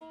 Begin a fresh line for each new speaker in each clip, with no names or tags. are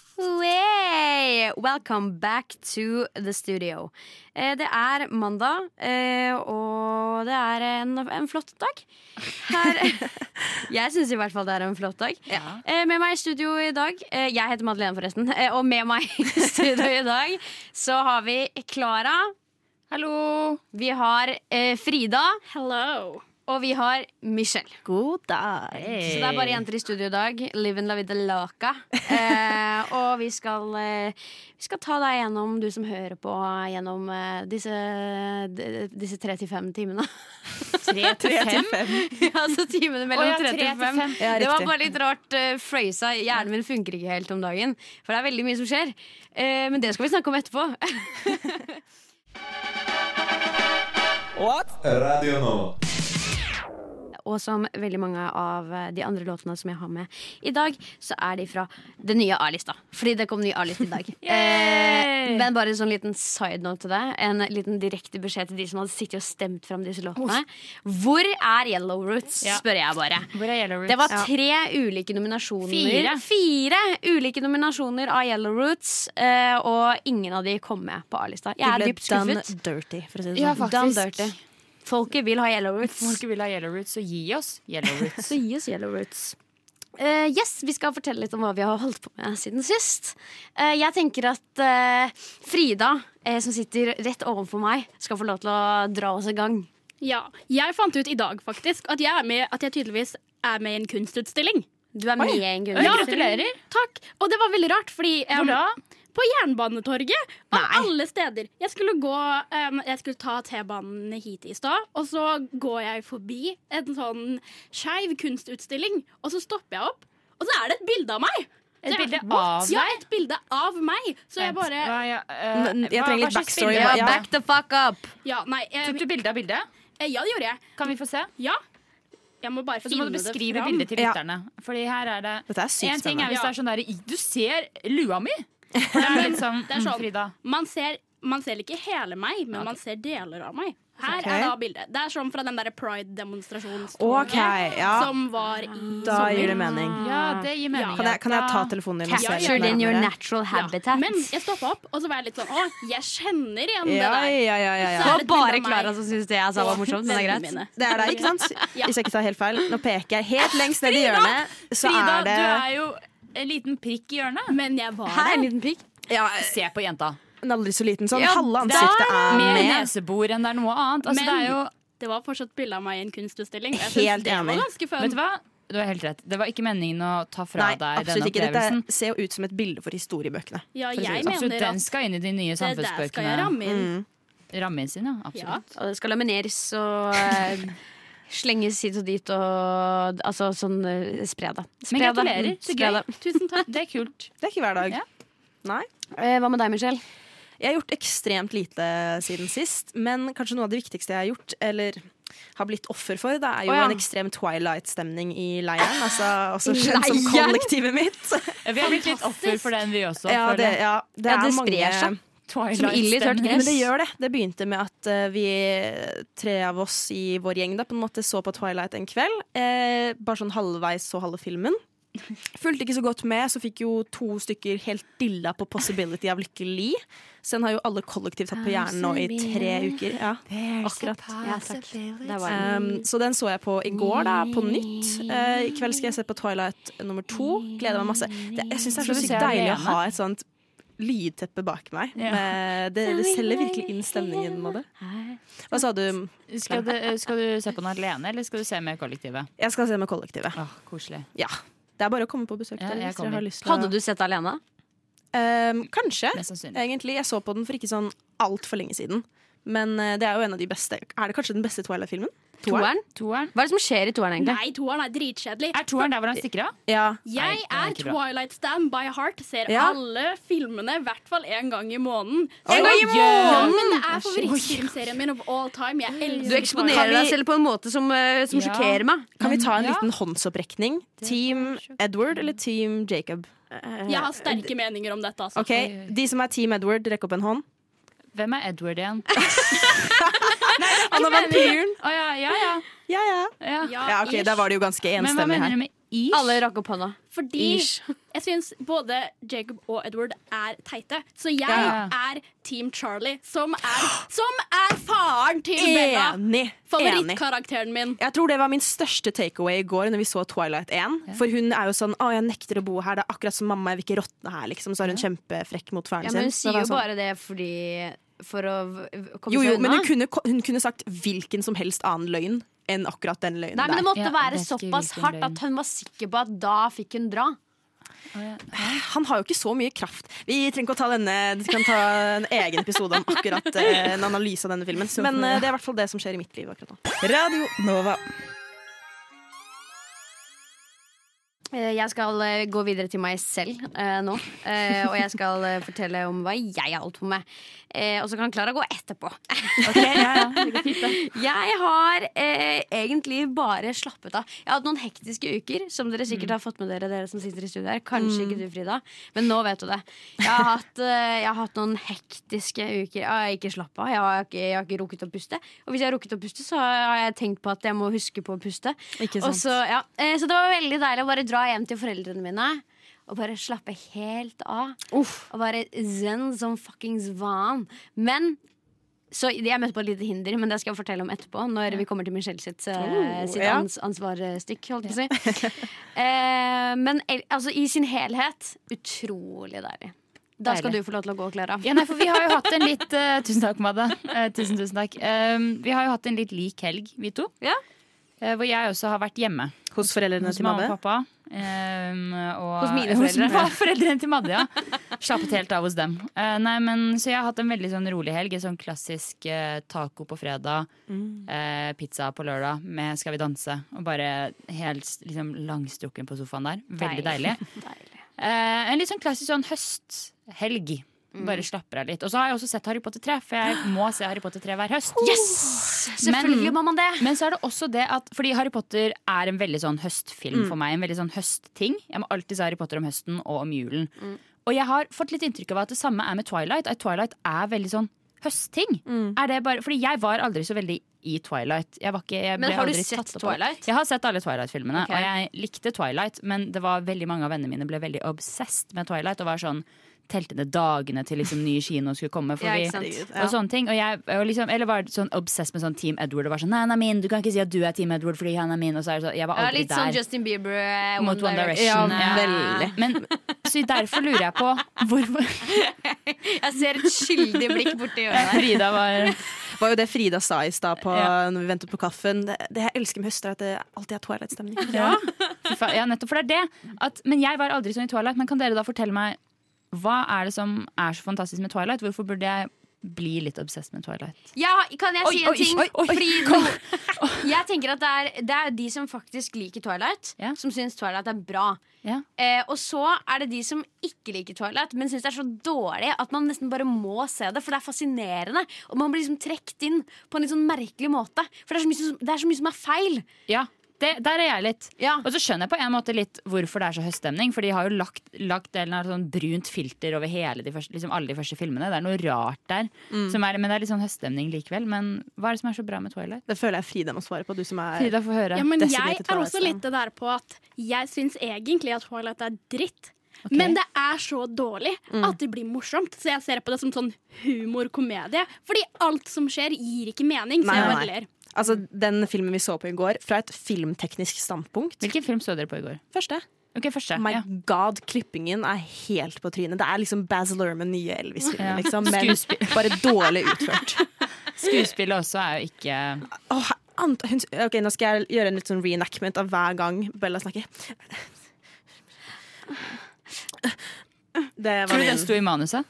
Way! Welcome back to the studio. Eh, Det er mandag, eh, og det er en, en flott dag. Her, jeg syns i hvert fall det er en flott dag. Eh, Med meg i studio i dag eh, Jeg heter Madeleine, forresten. eh, Og med meg i studio i dag så har vi Klara. Hallo. Vi har eh, Frida. Hello. Og vi har Michelle.
God dag.
Så det er bare jenter i studio i dag. Live and la vida loca. Eh, og vi skal, eh, vi skal ta deg gjennom, du som hører på, gjennom eh, disse, d- disse 3-5 timene.
Tre til fem.
ja, altså timene mellom
Å ja, tre
3 til
til
5.
fem. Ja,
det var
riktig.
bare litt rart eh, frøysa. Hjernen min funker ikke helt om dagen, for det er veldig mye som skjer. Eh, men det skal vi snakke om etterpå.
Radio Nova.
og som veldig mange av eh, de andre låtene som jeg har med i dag, så er de fra den nye A-lista. Fordi det kom ny A-list i dag. eh, men bare en sånn liten side note til det. En liten direkte beskjed til de som hadde sittet og stemt fram disse låtene. Hvor er Yellow Roots,
Ja.
spør jeg bare.
Hvor er Yellow Roots?
Det var tre ulike nominasjoner.
Fire.
Fire ulike nominasjoner av Yellow Roots, eh, og ingen av de kom med på A-lista. Jeg er
ble
dypt skuffet.
done dirty, for å si det
Ja,
sånn.
Done dirty. Folket vil ha Yellow Roots.
Folk vil ha Yellow Roots, så gi oss Yellow Roots.
Så gi oss Yellow Roots. Eh, yes, Vi skal fortelle litt om hva vi har holdt på med siden sist. Eh, jeg tenker at eh, Frida, eh, som sitter rett ovenfor meg, skal få lov til å dra oss i gang.
Ja, jeg fant ut i dag faktisk at jeg, er med, at jeg tydeligvis er med i en kunstutstilling.
Du er med i en grunn.
Ja, Takk. Og det var veldig rart, fordi em, På Jernbanetorget. Av alle steder. Jeg skulle, gå, em, jeg skulle ta T-banen hit i stad, og så går jeg forbi en sånn skeiv kunstutstilling, og så stopper jeg opp, og så er det et bilde av meg!
Et
Så jeg-
bilde av
Ja, et bilde av meg. Så jeg bare
Hva, ja, eh,
N- jeg
hva-
trenger
hva
litt
slags
backstory.
bilde?
Ja, back the fuck up!
Ja, nei. em,
Tok du bilde av bildet?
ja, det gjorde jeg.
Kan vi få se?
Ja. Jeg må bare
Så må
finne
du
det
beskrive
fram.
bildet til
Ja.
lytterne. Fordi her er det
Dette er sykt
En ting er
spennende.
hvis det er sånn der Du ser lua mi! Det er litt sånn,
Det er sånn.
mm, Frida.
man ser, man ser ikke hele meg, men man ser deler av meg. Her
Ok.
er da bildet. Det er som fra den der pride-demonstrasjonstoget
Ok, ja.
som var i
Da
sommer.
gir det mening.
Ja, det gir mening.
Kan jeg, kan jeg ta
Da-
telefonen din? og se litt
Captured in your
nærmere?
natural habitat.
Men jeg stoppa opp, og så var jeg litt sånn Å, jeg kjenner igjen det
Ja,
der.
ja, ja, ja,
det
ja.
var
Så-
bare Klara som syntes det jeg sa var morsomt, men det er
Vennene
greit.
mine.
Det er deg, ikke sant? Hvis jeg ikke tar helt feil. Nå peker jeg helt lengst ned i hjørnet, så
Frida,
er det
du er jo en liten prikk i hjørnet.
Men jeg var
Her er en
der.
liten pikk.
ja,
Se på jenta.
En aldri så liten sånn.
Ja,
Halve
der
ansiktet er
Mer
med.
nesebor enn det er noe annet. Altså,
Men-
det er jo,
Det var fortsatt bilde av meg i en kunstutstilling. Jeg synes
Helt
det var
enig.
ganske
vet du
fun.
hva? Du har helt rett. Det var ikke meningen å ta fra
Nei,
deg
absolutt
denne
ikke.
opplevelsen.
Dette ser jo ut som et bilde for historiebøkene.
Ja,
for å si
jeg
det sånn.
mener
Absolutt, den
at
skal inn i de nye
det der skal jeg
samfunnsbøkene.
ramme inn.
Mm.
Rammen sin, ja.
Ja.
Absolutt.
Og det skal lamineres og eh, slenges hit og dit og altså sånn eh, spre det. Spre
Men
det.
gratulerer.
Mm,
Så
spre
gøy.
det.
Tusen takk.
Det er kult.
Det er ikke hver dag.
Ja.
Nei.
Eh, Hva med deg, Michelle?
Jeg har gjort ekstremt lite siden sist, men kanskje noe av det viktigste jeg har gjort, eller har blitt offer for, det er jo
Å, ja.
en ekstrem Twilight-stemning i leiren. Altså, også kjent som
leiren?
kollektivet mitt.
Vi har blitt litt offer for den, vi også.
Ja,
for
det, ja, det,
Ja,
er
det
mange,
sprer seg.
Twilight
Som ild i tørt
stemning.
gress.
Men det gjør det. Det begynte med at eh, vi tre av oss i vår gjeng da, på en måte så på Twilight en kveld. eh, bare sånn halvveis så halve filmen. Fulgte ikke så godt med, så fikk jo to stykker helt dilla på Possibility av Lykke Li. Så den har jo alle kollektivt hatt på hjernen nå i tre uker. Ja, akkurat.
Ja, takk. Det var den.
Um, så den så jeg på i går, da, på nytt. Eh, I kveld skal jeg se på Twilight nummer to. Gleder meg masse. Det, jeg syns det
Skal
er så
du
sykt
se
deilig å
alene?
ha et sånt lydteppe bak meg.
Ja.
Med- Det, det selger virkelig inn stemningen med det. Hva sa du?
Skal du, skal du se på den alene, eller skal du se med kollektivet?
Jeg skal se med kollektivet.
Åh, koselig.
Ja. Det er bare å komme på besøk.
Ja,
dere,
jeg
hvis dere
kommer.
har lyst til å-
Hadde du sett det alene?
Um, kanskje.
Mest sannsynlig.
Egentlig. Jeg så på den for ikke sånn altfor lenge siden. Men eh, det er jo en av de beste Er det kanskje den beste Twilight-filmen?
Toeren?
Toeren.
Hva er det som skjer i toeren, egentlig?
Nei, toeren er dritkjedelig.
Er toeren der hvor han stikker av?
Ja.
Jeg
Nei, det er
er
ikke bra.
Twilight Stand by heart. Ser
Ja.
alle filmene i hvert fall én gang i måneden.
En gang i
Ja,
måneden!
men det er favorittfilmserien min of all time. Jeg elsker
Du eksponerer
Twilight.
deg selv på en måte som, eh, som
Ja.
sjokkerer meg.
Kan vi ta en
Ja.
liten håndsopprekning? Team Edward eller Team Jacob?
Jeg har sterke meninger om dette. Altså.
Ok, De som er Team Edward, rekk opp en hånd.
Hvem er Edward igjen?
Han er vampyren.
Å ja, ja, ja.
Ja, ja.
ja.
Ja,
ja, ok,
ish.
Der var det jo ganske
Men hva
enstemmig
mener
her.
du med ish?
Alle rakk opp hånda.
Fordi jeg syns både Jacob og Edward er teite. Så jeg
Ja.
er Team Charlie, som er, som er faren til Bella.
Enig. Enig.
Favorittkarakteren min.
Jeg tror det var min største takeaway i går når vi så Twilight 1. For hun er jo sånn 'Å, jeg nekter å bo her. Det er akkurat som mamma. Jeg vil ikke råtne her', liksom. Så er hun kjempefrekk mot faren
Ja,
sin.
men hun
Så
sier
det er
jo
sånn-
bare det fordi For å v- komme
Jo, jo,
seg
men
unna.
hun kunne, ko- hun kunne sagt hvilken som helst annen løgn enn akkurat den løgnen
Nei, men det
der.
måtte
Ja,
være
det er ikke
såpass
hvilken
hardt
løgn.
at hun var sikker på at da fikk hun dra.
Han har jo ikke så mye kraft. Vi trenger ikke å ta denne Vi kan ta en egen episode om akkurat eh, en analyse av denne filmen. Men eh, det er i hvert fall det som skjer i mitt liv akkurat nå. Radio Nova.
Eh, Jeg skal eh, gå videre til meg selv eh, nå. eh, og jeg skal eh, fortelle om hva jeg har holdt på med. Eh, og så kan Klara gå etterpå.
Ok, ja, ja. Det går fint, det.
Jeg har eh, egentlig bare slappet av. Jeg har hatt noen hektiske uker, som dere sikkert har fått med dere, dere som sitter i studio her. Kanskje ikke du, Frida, men nå vet du det. Jeg har hatt, eh, jeg har hatt noen hektiske uker. Jeg har ikke slappet av. Jeg har ikke, jeg har ikke rukket å puste. Og hvis jeg har rukket å puste, så har jeg tenkt på at jeg må huske på å puste.
Ikke
Og så, ja. eh, så det var veldig deilig å bare dra hjem til foreldrene mine. Og bare slappe helt av. Og bare zen som fuckings van. Men så jeg møtte på et lite hinder, men det skal jeg fortelle om etterpå. Når vi kommer til Michelle sitt, eh,
Oh,
sitt
ja.
ans ansvarsstykk, holdt jeg på å si. Eh, men el altså, i sin helhet utrolig deilig. Da skal
Deilig.
du få lov til å gå, Klara.
Ja, nei, for vi har jo hatt en litt eh, Tusen takk, Madde. Eh, tusen, tusen takk. Ehm, vi har jo hatt en litt lik helg, vi to.
Ja.
Eh, hvor jeg også har vært hjemme
Hos foreldrene
hos
til
mamma og
Madde.
pappa. Ehm, og,
Hos mine foreldre.
Hos, fa- foreldrene til Madde, ja. Slappet helt av hos dem. Eh, nei, men, så jeg har hatt en veldig sånn rolig helg. En Sånn klassisk eh, taco på fredag,
Mm.
eh, pizza på lørdag med Skal vi danse. Og bare helt liksom, langstrukken på sofaen der. Veldig deilig. Eh, en litt sånn klassisk sånn høsthelg. Bare slapper av litt. Og så har jeg også sett Harry Potter 3, for jeg må se Harry Potter 3 hver høst.
Selvfølgelig
Men-
må man det.
Men så er det også det at Fordi Harry Potter er en veldig sånn
Mm.
høstfilm for meg. En veldig sånn høstting. Jeg må alltid se Harry Potter om høsten og om julen.
Mm.
Og jeg har fått litt inntrykk av at det samme er med Twilight. At Twilight er veldig sånn høstting.
Mm.
Er det bare, fordi jeg var aldri så veldig i Twilight. Jeg var ikke, jeg
Men
ble
har du
aldri
sett
tatt opp av-
Twilight?
Jeg har sett alle Twilight-filmene.
Ok.
Og jeg likte Twilight, men det var veldig mange av vennene mine ble veldig obsessed med Twilight. Og var sånn telte ned dagene til liksom ny kino skulle komme. For
Ja,
vi,
ikke sant?
Ja.
og sånne ting. Og jeg og liksom, eller var sånn obsessed med sånn Team Edward. Og var sånn, nei, han er min, Du kan ikke si at du er Team Edward fordi han er min. Og så er det sånn, jeg var
Ja,
aldri
litt sånn
der.
Justin Bieber. eh,
Mot One
Ja,
Direction. Ja.
veldig.
Men, så derfor lurer jeg på hvorfor
Jeg ser et skyldig blikk borti hjørnet der.
Frida var
Det var jo det Frida sa i stad på-
Ja.
når vi ventet på kaffen. Det, det jeg elsker med høst, er at det alltid er Twilight-stemning.
Ja, Fy faen, ja nettopp. For det er det. At, men jeg var aldri sånn i Twilight. Men kan dere da fortelle meg hva er det som er så fantastisk med Twilight? Hvorfor burde jeg bli litt obsessed med Twilight?
Ja, kan jeg si en ting? Fordi-
kom.
Jeg tenker at det er, det er de som faktisk liker Twilight,
Ja.
som syns Twilight er bra.
Ja.
Eh, og så er det de som ikke liker Twilight, men syns det er så dårlig at man nesten bare må se det, for det er fascinerende. Og man blir liksom trukket inn på en litt sånn merkelig måte. For det er så mye som, det er, så mye som er feil.
Ja, det, der er jeg litt.
Ja.
Og så skjønner jeg på en måte litt hvorfor det er så høststemning. For de har jo lagt, lagt delen av sånn brunt filter over hele de første, liksom alle de første filmene. Det er noe rart der.
Mm.
Som er, men det er litt sånn høststemning likevel. Men hva er det som er så bra med Twilight?
Det føler jeg Frida må svare på, du som er
Frida får høre.
Ja, men jeg
Desidert
er også
Twilight-fan.
litt det der på at jeg syns egentlig at Twilight er dritt.
Ok.
Men det er så dårlig
Mm.
at det blir morsomt, så jeg ser på det som sånn humorkomedie. Fordi alt som skjer, gir ikke mening. Så
Nei,
jeg
nei,
bare
nei.
ler.
Altså, den filmen vi så på i går, fra et filmteknisk standpunkt
Hvilken film så dere på i går?
Første.
Ok, første.
My
Ja.
god, klippingen er helt på trynet. Det er liksom Baz Luhrmann, nye
Ja.
Elvis-filmen, liksom. Men
Skuespill.
bare dårlig utført.
Skuespillet også er jo ikke
Åh, Ant- hun, ok, nå skal jeg gjøre en litt sånn reenactment av hver gang Bella snakker. Det var
Tror du
min.
den sto i manuset?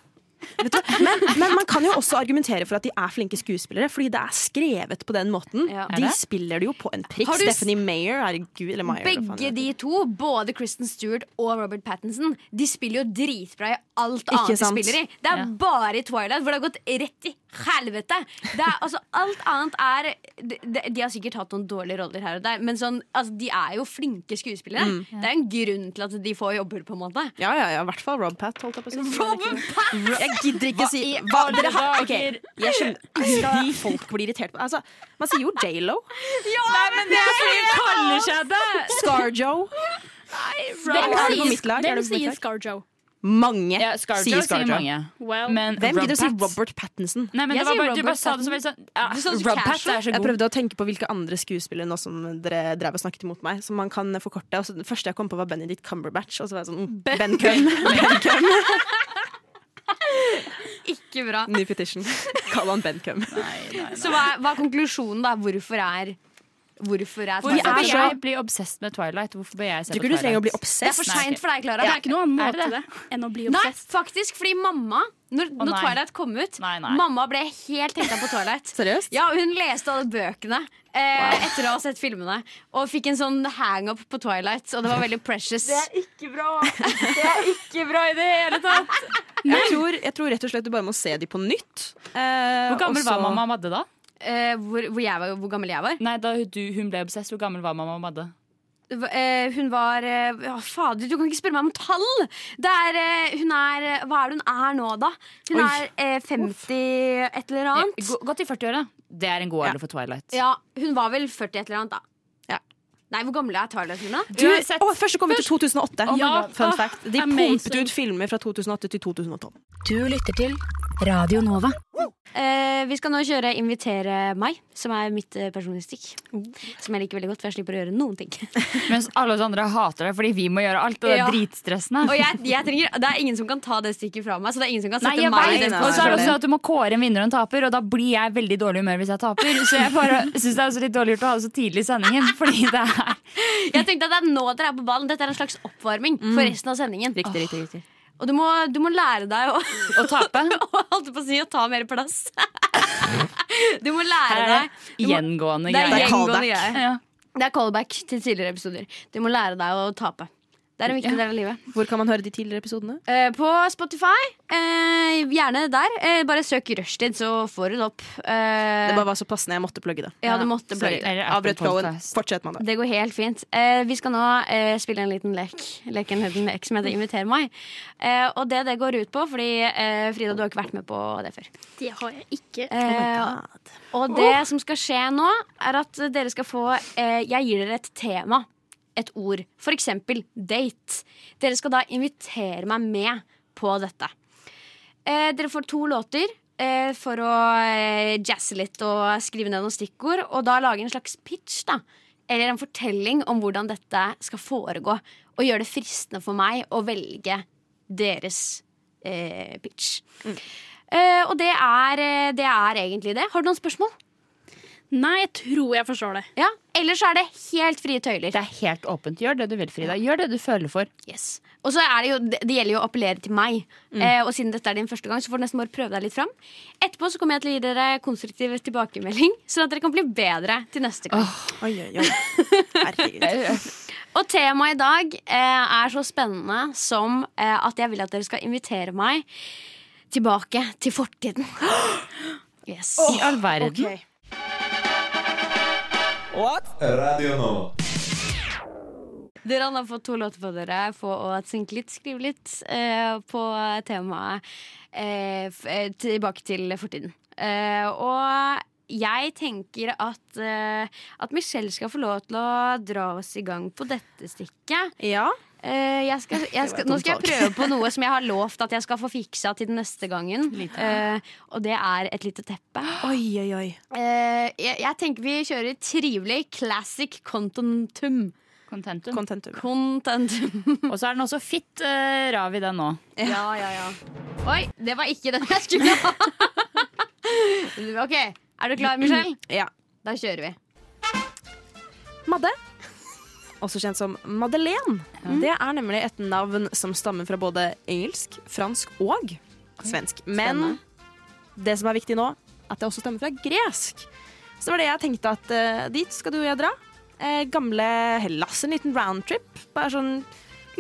Vet du, men, men man kan jo også argumentere for at de er flinke skuespillere, fordi det er skrevet på den måten.
Ja.
Er
De
det?
spiller det jo på en prikk.
Har du s-
Stephanie Mayer er det gud eller Meyer. hva faen
Begge
hun
de to, både Kristen Stewart og Robert Pattinson, de spiller jo dritbra i alt
Ikke
annet de
sant?
spiller i. Det er
Ja.
bare i Twilight hvor det har gått rett i helvete. Det er, altså, alt annet er de, de, de har sikkert hatt noen dårlige roller her og der, men sånn, altså, de er jo flinke skuespillere.
Mm.
Det er en grunn til at de får jobber, på en måte.
heter. Ja, ja, ja, i hvert fall Rob Pat. Holdt jeg, på å si.
Robert Pattinson!
jeg gidder ikke si
i
hva
alle
dere har. Ok,
dager?
jeg skjønner ikke de folk blir irritert på. Altså, man sier jo J.Lo.
Nei, men det er fordi hun kaller seg det!
Scarjo.
Hvem
Er det på mitt
sier,
lag? Er
hvem
det på mitt
sier
lag?
ScarJo?
Mange
Ja, Scarjo
sier
sier
Scarjo.
mange.
Well,
Men
Hvem
Rob
gidder å si
Pat-
Robert Pattinson?
Nei, men det
Jeg
var
sier
bare, du
Robert
bare sa det som veldig sånn ja,
Du sa det så
Rob Pat
casual.
er så
Jeg
god.
prøvde å tenke på hvilke andre skuespillere nå som dere drev og snakket imot meg, som man kan forkorte. Og så den første jeg kom på, var Benedict Cumberbatch. Og så var jeg sånn mm, Ben Cum. Ben Cum.
Ikke bra.
Ny petition. Kall han Ben Cum.
Så hva er, hva er konklusjonen, da? Hvorfor er Hvorfor er
Hvorfor
Twilight
bør
så-
jeg bli obsessed med Twilight? Hvorfor bør jeg se på
Tror ikke du
Twilight?
trenger å bli
Det er for
obsess.
Nei,
seint
ok.
for deg, Klara.
det
Det
er ikke noe annen
Er det
måte det? enn å bli
Nei,
obsess.
faktisk, fordi mamma Når, når
nei.
Twilight kom ut
Nei, nei.
Mamma ble helt henta på Twilight
Seriøst?
Ja, hun leste alle bøkene eh, Etter å ha sett filmene Og fikk en sånn hang-up på Twilight Og det var veldig precious
Jeg tror, jeg tror rett og slett du bare må se de på nytt. Eh,
Hvor gammel var mamma Madde da?
eh, hvor, hvor, jeg var, hvor gammel jeg var
Nei, da du, hun ble obsessed, hvor gammel var mamma Madde?
Hva- eh, Hun var eh, å, Fader, du kan ikke spørre meg om tall det er, eh, Hun er, eh, hva er det hun er nå da? Hun
Oi.
er eh, 50 et eller annet
Gå- Gått i 40-åra. Det er en god alder for Twilight.
Ja, hun var vel 40 et eller annet da
Ja.
Nei, hvor gammel er Twilight hun da?
Du,
Uansett.
å, første kom ut i 2008.
my
ja,
God.
ah,
fun fact. De
amazing.
pumpet ut filmer fra 2008 til 2012.
Du lytter til Radio Nova.
Eh, vi skal nå kjøre Invitere meg, som er mitt eh, personlige stikk. Som jeg liker veldig godt, for jeg slipper å gjøre noen ting.
Mens alle oss andre hater det fordi vi må gjøre alt, og det er
Ja.
dritstressende.
Og jeg, jeg trenger, Det er ingen som kan ta det stikket fra meg. Så det er ingen som kan sette
jeg
meg i
vet
den
det.
nei,
Og så er det
posisjonen.
nei.
også at du må kåre en vinner og en taper, og da blir jeg veldig dårlig i humør hvis jeg taper. Så jeg bare syns det er så litt dårlig gjort å ha det så tidlig i sendingen, fordi det er
Jeg tenkte at det er nå dere er på ballen. Dette er en slags oppvarming for resten av sendingen.
Riktig, riktig, riktig.
Og du må, du må lære deg å
å tape.
å- holdt på å si å ta mer plass. Du må lære
Her er
deg
det gjengående
Det er
greier.
gjengående
callback.
greier.
Ja.
Det er callback til tidligere episoder. Du må lære deg å tape. Det er en viktig del av livet.
Hvor kan man høre de tidligere episodene?
Eh, på Spotify. eh, gjerne der. Eh, bare søk rushtid, så får du det opp. Eh,
Det bare var så passende. Jeg måtte plugge det.
ja, du måtte
Sorry.
plugge det.
Eller Apple
Avbrøt flowen.
Podcast.
Fortsett, Mandag.
Det går helt fint. Eh, vi skal nå eh, spille en liten lek Leken heter en lek som heter Inviter meg. Eh, og det det går ut på, fordi eh, Frida, du har ikke vært med på det før.
Det har jeg ikke.
Eh, og det som skal skje nå, er at dere skal få eh, Jeg gir dere et tema. Et ord. For eksempel date. Dere skal da invitere meg med på dette. Eh, dere får to låter eh, for å eh, jazze litt og skrive ned noen stikkord. Og da lage en slags pitch, da. Eller en fortelling om hvordan dette skal foregå. Og gjøre det fristende for meg å velge deres eh, pitch. Eh, og det er, eh, det er egentlig det. Har du noen spørsmål?
Nei, jeg tror jeg forstår det.
Ja. Ellers er det helt frie tøyler.
Det er helt åpent. Gjør det du vil, Frida. Gjør det du føler for.
Yes. Og så er det jo, det det gjelder jo å appellere til meg. Eh, og siden dette er din første gang, så får du nesten bare prøve deg litt fram. Etterpå så kommer jeg til å gi dere konstruktiv tilbakemelding, sånn at dere kan bli bedre til neste gang.
Oi, oi, oi. Herregud.
Og temaet i dag eh, er så spennende som eh, at jeg vil at dere skal invitere meg tilbake til fortiden. Yes.
I all verden.
Radio Nova.
Dere har fått to låter på dere for å synke litt, skrive litt eh, på temaet eh, f eh, tilbake til fortiden. Eh, og jeg tenker at, eh, at Michelle skal få lov til å dra oss i gang på dette stikket.
Ja.
Eh, jeg skal, jeg skal, nå skal jeg prøve på noe som jeg har lovt at jeg skal få fiksa til den neste gangen. Eh, og det er et lite teppe.
Oi, oi, oi.
Eh, jeg, jeg tenker vi kjører trivelig classic contentum.
Contentum.
Contentum.
Contentum.
Og så er den også fit eh, rav i den nå.
Ja, ja, ja. Oi, det var ikke den jeg skulle ha. OK, er du klar, Michelle?
Ja.
Da kjører vi.
Madde, også kjent som Madeleine, det er nemlig et navn som stammer fra både engelsk, fransk og svensk. Men det som er viktig nå, at det også stemmer fra gresk. Så det var det jeg tenkte at eh, dit skal du og jeg dra. Eh, gamle Hellas, en liten roundtrip. Bare sånn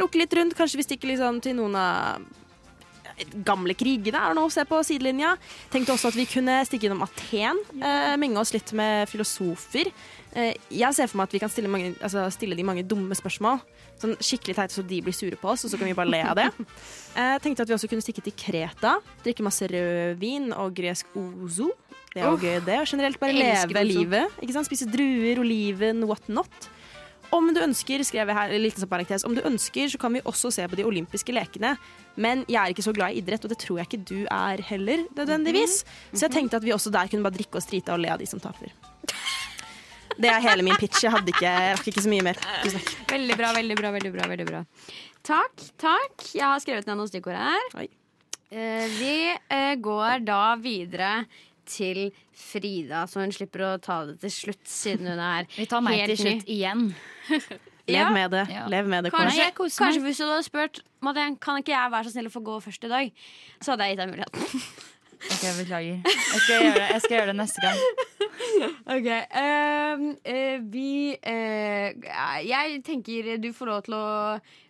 lukke litt rundt. Kanskje vi stikker liksom til noen av gamle krigene er nå å se på sidelinja. Tenkte også at vi kunne stikke innom Aten, eh, menge oss litt med filosofer. Eh, jeg ser for meg at vi kan stille, mange, altså, stille de mange dumme spørsmål. Sånn skikkelig teite så de blir sure på oss, og så kan vi bare le av det. Eh, tenkte at vi også kunne stikke til Kreta, drikke masse rødvin og gresk ozo. Det er jo gøy, det. Og generelt bare
jeg elsker
leve
ozo.
livet. Ikke sant? Spise druer, oliven, what not. Om du ønsker, skrev jeg her, litt som parentes, om du ønsker, så kan vi også se på de olympiske lekene. Men jeg er ikke så glad i idrett, og det tror jeg ikke du er heller, nødvendigvis. Så jeg tenkte at vi også der kunne bare drikke oss drita og le av de som taper. Det er hele min pitch. Jeg hadde ikke, jeg rakk ikke så mye mer. Tusen takk.
Veldig bra, veldig bra, veldig bra. veldig bra Takk, takk. Jeg har skrevet ned noen stikkord her.
Oi.
Eh, vi eh, går da videre til Frida, så hun slipper å ta det til slutt, siden hun er
Vi tar meg
helt
til slutt igjen.
Ja,
Lev med det.
Ja.
Lev med det. Kåre.
Kanskje,
Nei, jeg koser meg.
kanskje hvis du hadde spurt Madeleine, kan ikke jeg være så snill å få gå først i dag, så hadde jeg gitt deg muligheten.
Ok, Beklager. Jeg skal gjøre det, jeg skal gjøre det neste gang.
Ok, ehm, eh, Vi eh, Jeg tenker du får lov til å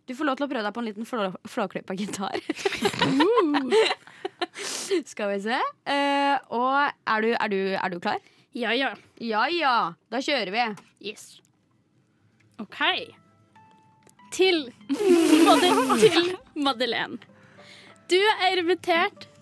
Du får lov til å prøve deg på en liten flåklypa gitar. Skal vi se. Eh, og er du, klar?
Ja, ja.
Ja ja, da kjører vi.
Yes. OK. Til Madde- Til Madeleine. Du er invitert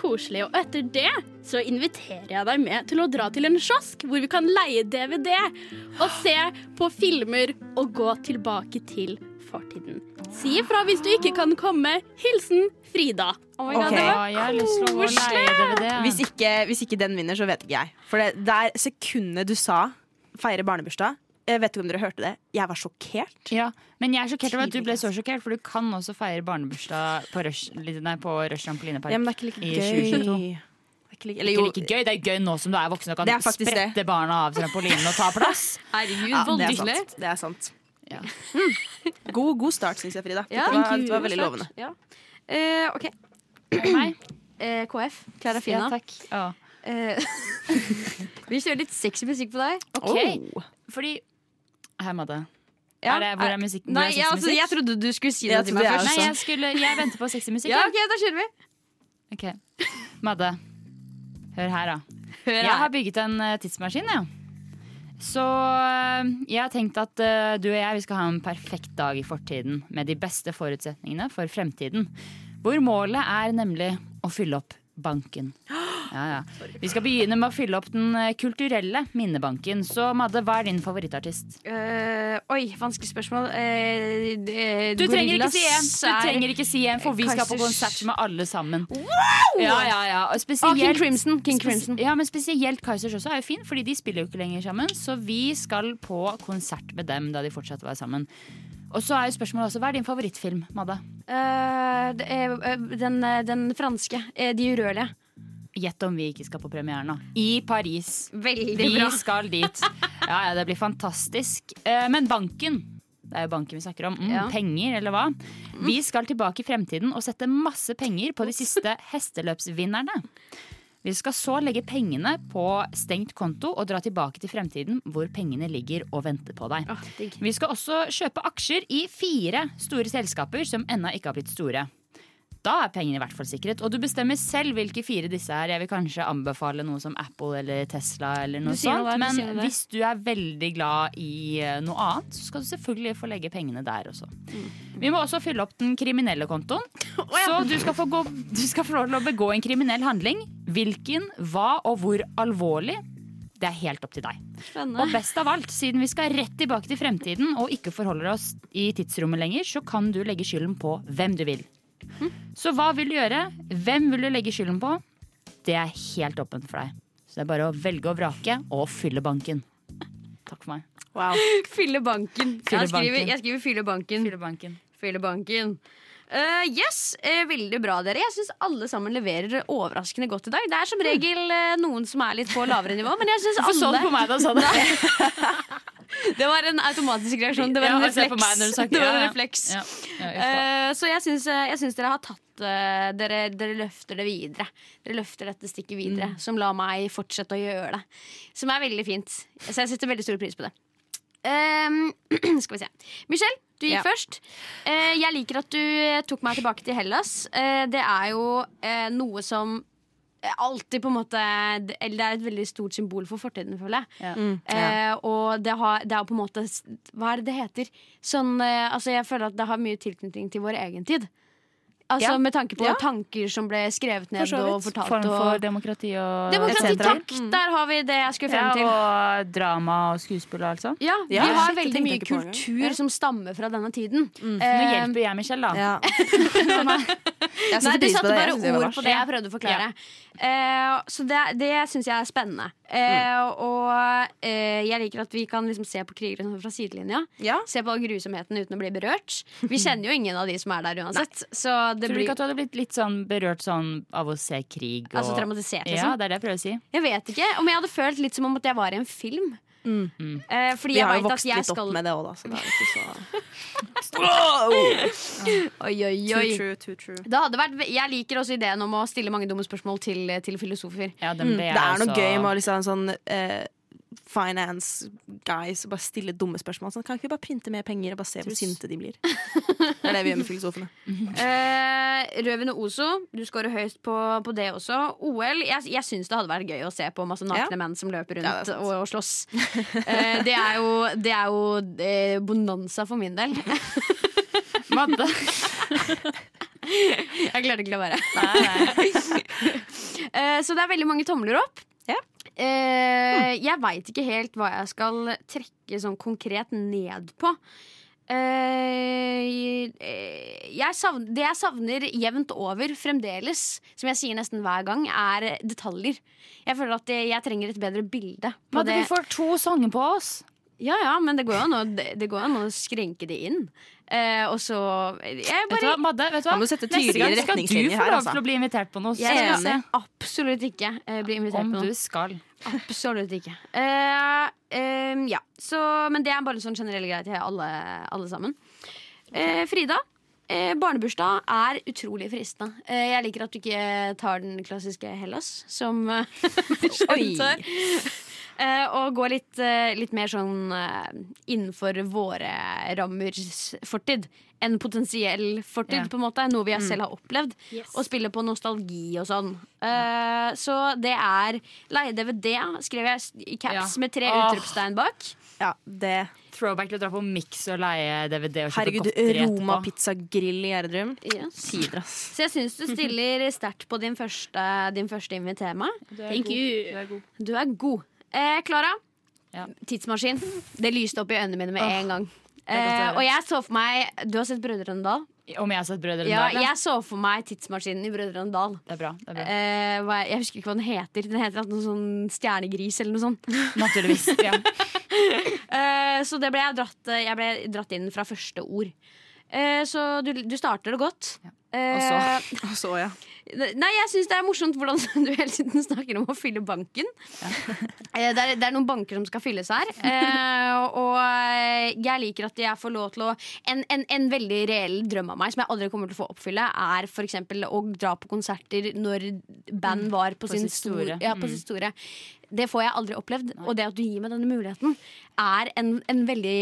koselig? Og etter det så inviterer jeg deg med til å dra til en kiosk, hvor vi kan leie DVD og se på filmer og gå tilbake til fortiden. Si ifra hvis du ikke kan komme. Hilsen Frida.
Ok.
Ja, jeg har lyst til å gå og leie DVD.
Hvis ikke, hvis ikke den vinner, så vet ikke jeg. For det, det er sekundet du sa 'feire barnebursdag'. Jeg vet ikke om dere hørte det. Jeg var sjokkert.
Ja, men jeg er sjokkert over at du ble så sjokkert, for du kan også feire barnebursdag på Rush, nei, på Rush trampolinepark.
Ja, men det er ikke like
I 2022.
gøy. Det er ikke like-
Det
Eller
er
jo,
ikke like gøy. Det er gøy nå som du er voksen og
Det
kan
er faktisk
sprette
det.
barna av trampolinen og ta plass.
Herregud,
ja, det er sant. Det er sant.
Ja.
Mm. God, god start, syns jeg, Frida.
Ja,
Dette var, det var veldig lovende.
Ja. Eh, OK.
Meg?
Eh, KF. Klara Fina.
Ja, takk. Ja.
Eh, vi kjører litt sexy musikk på deg.
Ok.
Oh.
Fordi Hei, Madde.
Ja.
Er det, hvor er musikken?
Nei,
Hvor er
ja, altså,
sexy musikk?
jeg trodde du skulle si det
Jeg
til
trodde
meg
jeg
først.
Nei,
også.
jeg, skulle, jeg venter på sexy musikk.
Ja,
jeg.
ok, da kjører vi.
Ok. Madde, hør her, da.
Hør
Jeg har bygget en eh, tidsmaskin, ja. Så eh, jeg har tenkt at eh, du og jeg vi skal ha en perfekt dag i fortiden med de beste forutsetningene for fremtiden. Hvor målet er nemlig å fylle opp banken. Ja, ja. Vi skal begynne med å fylle opp den eh, kulturelle minnebanken. Så Madde, hva er din favorittartist?
Eh, oi, vanskelig spørsmål. Eh, det-
Du trenger ikke
gorillas
si en, du
er-
trenger ikke si en for vi skal på konsert med alle sammen. Ja, ja, ja. Og
Ah, King
spesielt
Crimson. King
Spes-
Crimson.
Ja, men spesielt Kaizers også er jo fin, fordi de spiller jo ikke lenger sammen. Så vi skal på konsert med dem da de fortsatt var sammen. Og så er jo spørsmålet også, Hva er din favorittfilm, Madde?
Eh, det er, eh, den, eh, den franske. eh, De urørlige.
Gjett om vi ikke skal på premieren, da. I Paris.
Veldig
Vi
bra.
skal dit. Ja, ja, det blir fantastisk. Eh, Men banken. Det er jo banken vi snakker om. Mm,
Ja. Mm.
Penger, eller hva? Vi skal tilbake i fremtiden og sette masse penger på de siste hesteløpsvinnerne. Vi skal så legge pengene på stengt konto og dra tilbake til fremtiden hvor pengene ligger og venter på deg. Vi skal også kjøpe aksjer i fire store selskaper som ennå ikke har blitt store. Da er pengene i hvert fall sikret, og du bestemmer selv hvilke fire disse er. Jeg vil kanskje anbefale noe som Apple eller Tesla eller noe
Du sier noe
sånt.
der, du
men
sier noe der.
hvis du er veldig glad i eh, noe annet, så skal du selvfølgelig få legge pengene der også.
Mm.
Vi må også fylle opp den kriminelle kontoen. Så du skal, få gå, du skal få lov til å begå en kriminell handling. Hvilken, hva og hvor alvorlig, det er helt opp til deg.
Spennende.
Og best av alt, siden vi skal rett tilbake til fremtiden og ikke forholder oss i tidsrommet lenger, så kan du legge skylden på hvem du vil. Så hva vil du gjøre? Hvem vil du legge skylden på? Det er helt åpent for deg. Så det er bare å velge og vrake og fylle banken. Takk for meg.
Wow.
Fylle banken.
Fylle
jeg, skriver,
banken.
jeg skriver fylle banken.
Fylle banken.
Fylle banken. Eh, yes, eh, veldig bra dere. Jeg syns alle sammen leverer overraskende godt i dag. Det er som regel eh, noen som er litt på lavere nivå, men jeg syns
Hvorfor så du
alle
på meg da du sa det?
Det var en automatisk reaksjon. Det var
Ja,
en
og se på meg når du
refleks.
sa-
Det var
ja,
en
ja.
refleks.
Ja, ja, uff da.
Eh, så jeg syns, eh, jeg syns dere har tatt eh, dere, dere løfter det videre. Dere løfter dette stikket videre,
Mm.
som lar meg fortsette å gjøre det. Som er veldig fint. Så jeg setter veldig stor pris på det. Ehm, skal vi se. Michelle, du gikk
Ja.
først. Eh, jeg liker at du tok meg tilbake til Hellas. Eh, det er jo eh, noe som eh, alltid på en måte det- Eller det er et veldig stort symbol for fortiden, føler jeg.
Ja.
Eh, og det, har, det er på en måte s- Hva er det det heter? Sånn, eh, altså jeg føler at det har mye tilknytning til vår egen tid. Altså
Ja.
Med tanke på
Ja.
tanker som ble skrevet ned
For så
og
vidt.
fortalt.
Form for
og,
demokrati og
demokrati,
et cetera.
takk! Der har vi det jeg skulle
Ja,
frem til.
og drama og skuespill og alt sånt.
Ja,
Ja,
Vi har
shit, det
veldig
tenkte
mye
jeg ikke på Mm. engang.
kultur som stammer fra denne tiden.
Nå
Eh,
hjelper jeg Michelle, da.
Ja. Jeg
Nei,
setter
du
pris på
satte
det. Jeg
bare
synes det
ord
var bra.
på det jeg prøvde å forklare. Eh, så det, det syns jeg er spennende.
Mm.
Eh, Og eh, jeg liker at vi kan liksom se på krigere sånn fra sidelinja.
Ja.
Se på grusomheten uten å bli berørt. Vi kjenner jo ingen av de som er der uansett. Så det
Tror du
blir
ikke at du hadde blitt litt sånn berørt sånn av å se krig? Og...
altså traumatisert,
ja,
liksom.
det er det jeg prøver å si.
Jeg vet ikke om jeg hadde følt litt som om at jeg var i en film. Eh, fordi
Mm. Vi
jeg
har jo
vet at
vokst
jeg
litt
skal
opp med det òg, da. Så det er ikke så
Oi, oi, oi.
Too true, too true.
Det hadde vært, jeg liker også ideen om å stille mange dumme spørsmål til, til filosofer.
Ja, den ble altså- jeg
Mm, Det er noe
også-
gøy med å liksom ha en sånn eh, finance guys og bare stille dumme spørsmål. Sånn, kan ikke vi bare printe mer penger og bare se hvor sinte de blir? Det er det vi gjør med filosofene.
Eh, Røven og Ozo, du scorer høyst på, på det også. OL, jeg, jeg syns det hadde vært gøy å se på masse nakne
Ja.
menn som løper
Ja, det
rundt
er sant.
og, og slåss. Eh, det er jo, det er jo eh, bonanza for min del.
Madde.
Jeg klarte ikke å la være.
Nei, nei.
Eh, så det er veldig mange tomler opp.
Ja.
Eh, jeg veit ikke helt hva jeg skal trekke sånn konkret ned på. Eh, eh, jeg savn- det jeg savner jevnt over fremdeles, som jeg sier nesten hver gang, er detaljer. Jeg føler at jeg, jeg trenger et bedre bilde. på
Madde,
det.
vi får to sanger på oss.
Ja, ja, men det går jo an å, det, det går jo an å skrenke det inn. Eh, og så jeg
Vet du hva,
bare,
Madde, vet du hva?
Man må sette
Neste gang
tydeligere
skal du
retningslinjer
få
her,
lov
altså.
til å bli invitert på noe. Så
Jeg
skal
er
vi se
enig. Absolutt ikke eh, bli invitert
om
på noe.
du skal.
Absolutt ikke. Eh, ehm, ja. så, men det er bare en sånn generell greie til alle, alle sammen. Eh, Frida, eh, barnebursdag er utrolig fristende. Eh, jeg liker at du ikke tar den klassiske Hellas, som eh, Michelle
Oi.
tar. Eh, og går litt, eh, litt mer sånn eh, innenfor våre rammers fortid. En potensiell fortid,
Ja. Mm.
på en måte. Noe vi selv har opplevd.
Yes.
Og spille på nostalgi og sånn. Eh, så det er leie DVD, skrev jeg s- i caps
Ja.
med tre
Åh.
utropstegn bak.
Ja, det
Throwback til å dra på Mix og leie DVD og kjøpe
Herregud,
godteri
Roma
etterpå.
Pizza Grill i Gjerdrum.
Yes.
Tider, ass.
Så jeg syns du stiller sterkt på din første, din første invitema.
Thank you.
Du er god. Eh, Klara,
Ja.
tidsmaskin. Det lyste opp i øynene mine med en
er
gang.
godt å
Eh,
høre.
og jeg så for meg Du har sett Brødrene Dal?
Om jeg har sett Brødrene
Ja,
Dal, ja.
jeg så for meg tidsmaskinen i Brødrene Dal.
Det er bra. det er bra
Eh, hva- jeg husker ikke hva den heter. Den heter noe sånn stjernegris eller noe sånt.
Naturligvis. Ja.
Eh, så det ble jeg, dratt, jeg ble dratt inn fra første ord. Eh, så du, du starter det godt. Eh,
Og så, ja.
nei, jeg syns det er morsomt hvordan du hele tiden snakker om å fylle banken. Eh, det, er, det er noen banker som skal fylles her. Eh, og eh, jeg liker at jeg får lov til å en, en, en veldig reell drøm av meg som jeg aldri kommer til å få oppfylle, er f.eks. å dra på konserter når band var
Mm.
på,
på
sin
sitt store. Mm.
store. Ja, på sitt store. Det får jeg aldri opplevd. Og det at du gir meg denne muligheten, er en, en veldig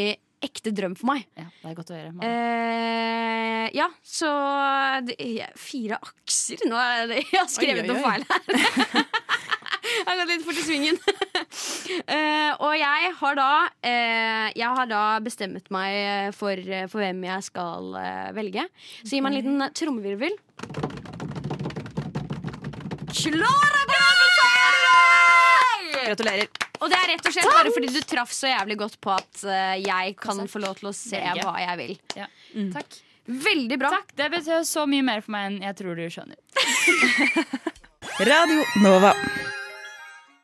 ekte drøm for meg.
ja, det er godt å gjøre. Madde.
Eh, ja, så det, er Fire akser? Nå er det, jeg har skrevet
Oi, oi,
noe
oi.
feil her. jeg har gått litt fort i svingen. Eh, og jeg har da eh, Jeg har da bestemt meg for, for hvem jeg skal eh, velge. Så gi meg en liten trommevirvel. Klara Gravenberg!
Gratulerer.
Og det er rett og slett bare fordi du traff så jævlig godt på at eh, jeg kan få lov til å se
Velge.
hva jeg vil.
Ja. Takk.
Veldig bra.
Takk. Det betyr så mye mer for meg enn jeg tror du skjønner.
Radio Nova.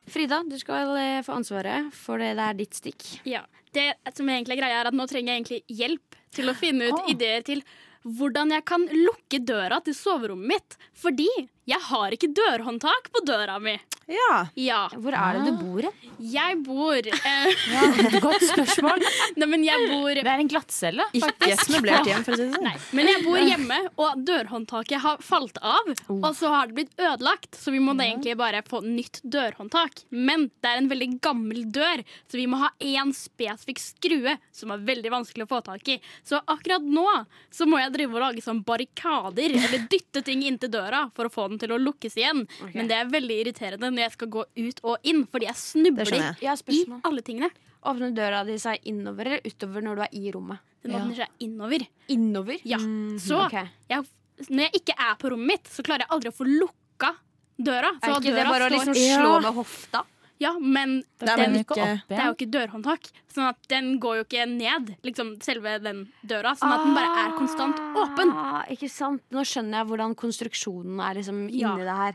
Frida, du skal eh, få ansvaret, for det, det er ditt stikk.
Ja. Det som egentlig er greia, er at nå trenger jeg egentlig hjelp til å finne ut
Ah.
Åh.
ideer til hvordan jeg kan lukke døra til soverommet mitt. Fordi jeg har ikke dørhåndtak på døra mi.
Ja.
Ja,
Hvor er
Ah.
det du bor? hen?
jeg bor eh,
Godt spørsmål.
Nei, men jeg bor
Det er en glattcelle.
Ikke et møblert hjem, for å si det sånn.
Nei, men jeg bor hjemme, og dørhåndtaket har falt av. Og så har det blitt ødelagt, så vi må da egentlig bare få nytt dørhåndtak. Men det er en veldig gammel dør, så vi må ha én spesifikk skrue som er veldig vanskelig å få tak i. Så akkurat nå så må jeg drive og lage sånn barrikader, eller dytte ting inntil døra for å få den til å lukkes igjen. Men det er veldig irriterende når jeg skal gå ut og inn, fordi jeg
Det
snubler
skjønner jeg.
Jeg har
i
spørsmål.
alle tingene.
Åpner døra di seg innover eller utover når du er i rommet?
Den åpner seg innover. Ah,
Innover?
Ja. Så
Mhm, Ok.
jeg, når jeg ikke er på rommet mitt, så klarer jeg aldri å få lukka døra. Så
Er ikke det
døra
bare å
står-
liksom
Ja.
slå med hofta?
Ja, men
Nei,
Den går
men ikke-
opp
det er
igjen.
jo ikke dørhåndtak, sånn at den går jo ikke ned, liksom selve den døra, sånn at den bare er konstant åpen.
Ah, ikke sant? Nå skjønner jeg hvordan konstruksjonen er liksom
Ja.
inni det her.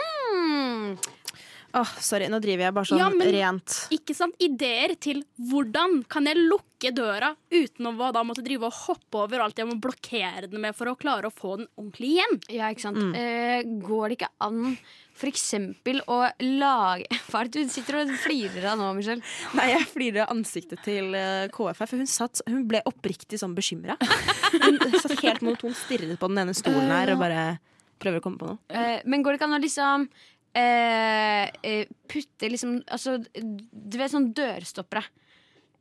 Hmm.
Åh, sorry, nå driver jeg bare sånn
Ja, men-
rent.
Ikke sant? Ideer til hvordan kan jeg lukke døra uten å hva da måtte drive og hoppe over alt jeg må blokkere den med for å klare å få den ordentlig igjen.
Ja, ikke
Mm.
sant. Eh, går det ikke an for eksempel å lage Hva er det du sitter og flirer av nå, Michelle?
Nei, jeg flirer av ansiktet til eh, KFF. for Hun, satt, hun ble oppriktig sånn bekymra. Hun satt helt monoton, stirret på den ene stolen her og bare prøver å komme på noe.
Eh, men går det ikke an å liksom eh, eh, putte liksom Altså, du vet sånn dørstoppere.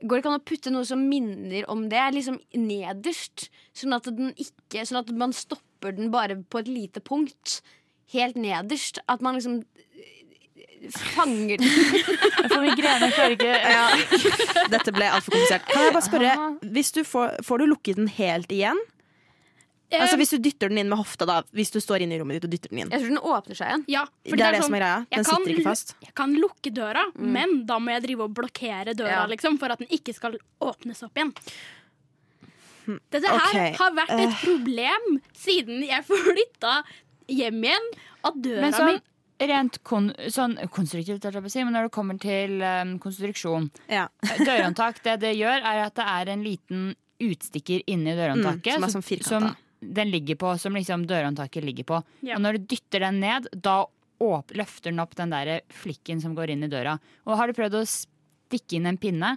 Går det ikke an å putte noe som minner om det, liksom nederst? Sånn at, den ikke, sånn at man stopper den bare på et lite punkt. Helt nederst. At man liksom eh, fanger den.
Jeg får migrene, jeg klarer ikke
Dette ble altfor komplisert. Kan jeg bare spørre, hvis du får, får du lukket den helt igjen? Altså Hvis du dytter den inn med hofta, da. Hvis du står inne i rommet ditt og dytter den inn.
Jeg tror den åpner seg igjen.
Ja,
Det er det som er greia.
sånn, jeg
Den
kan
sitter ikke
lu-
fast. Mm.
Jeg kan lukke døra, men da må jeg drive og blokkere døra
Ja.
liksom, for at den ikke skal åpnes opp igjen. Dette
Hm, ok, Eh.
her har vært et problem siden jeg flytta hjem igjen. At døra
Men sånn,
mi
rent kon sånn konstruktivt, holdt jeg på å si, men når det kommer til um, konstruksjon
Ja.
Dørhåndtak, det det gjør, er at det er en liten utstikker inni dørhåndtaket.
Mm, som er sånn firkanta.
som den ligger på, som liksom dørhåndtaket ligger på.
Ja.
Og når du dytter den ned, da åp løfter den opp den der flikken som går inn i døra. Og har du prøvd å stikke inn en pinne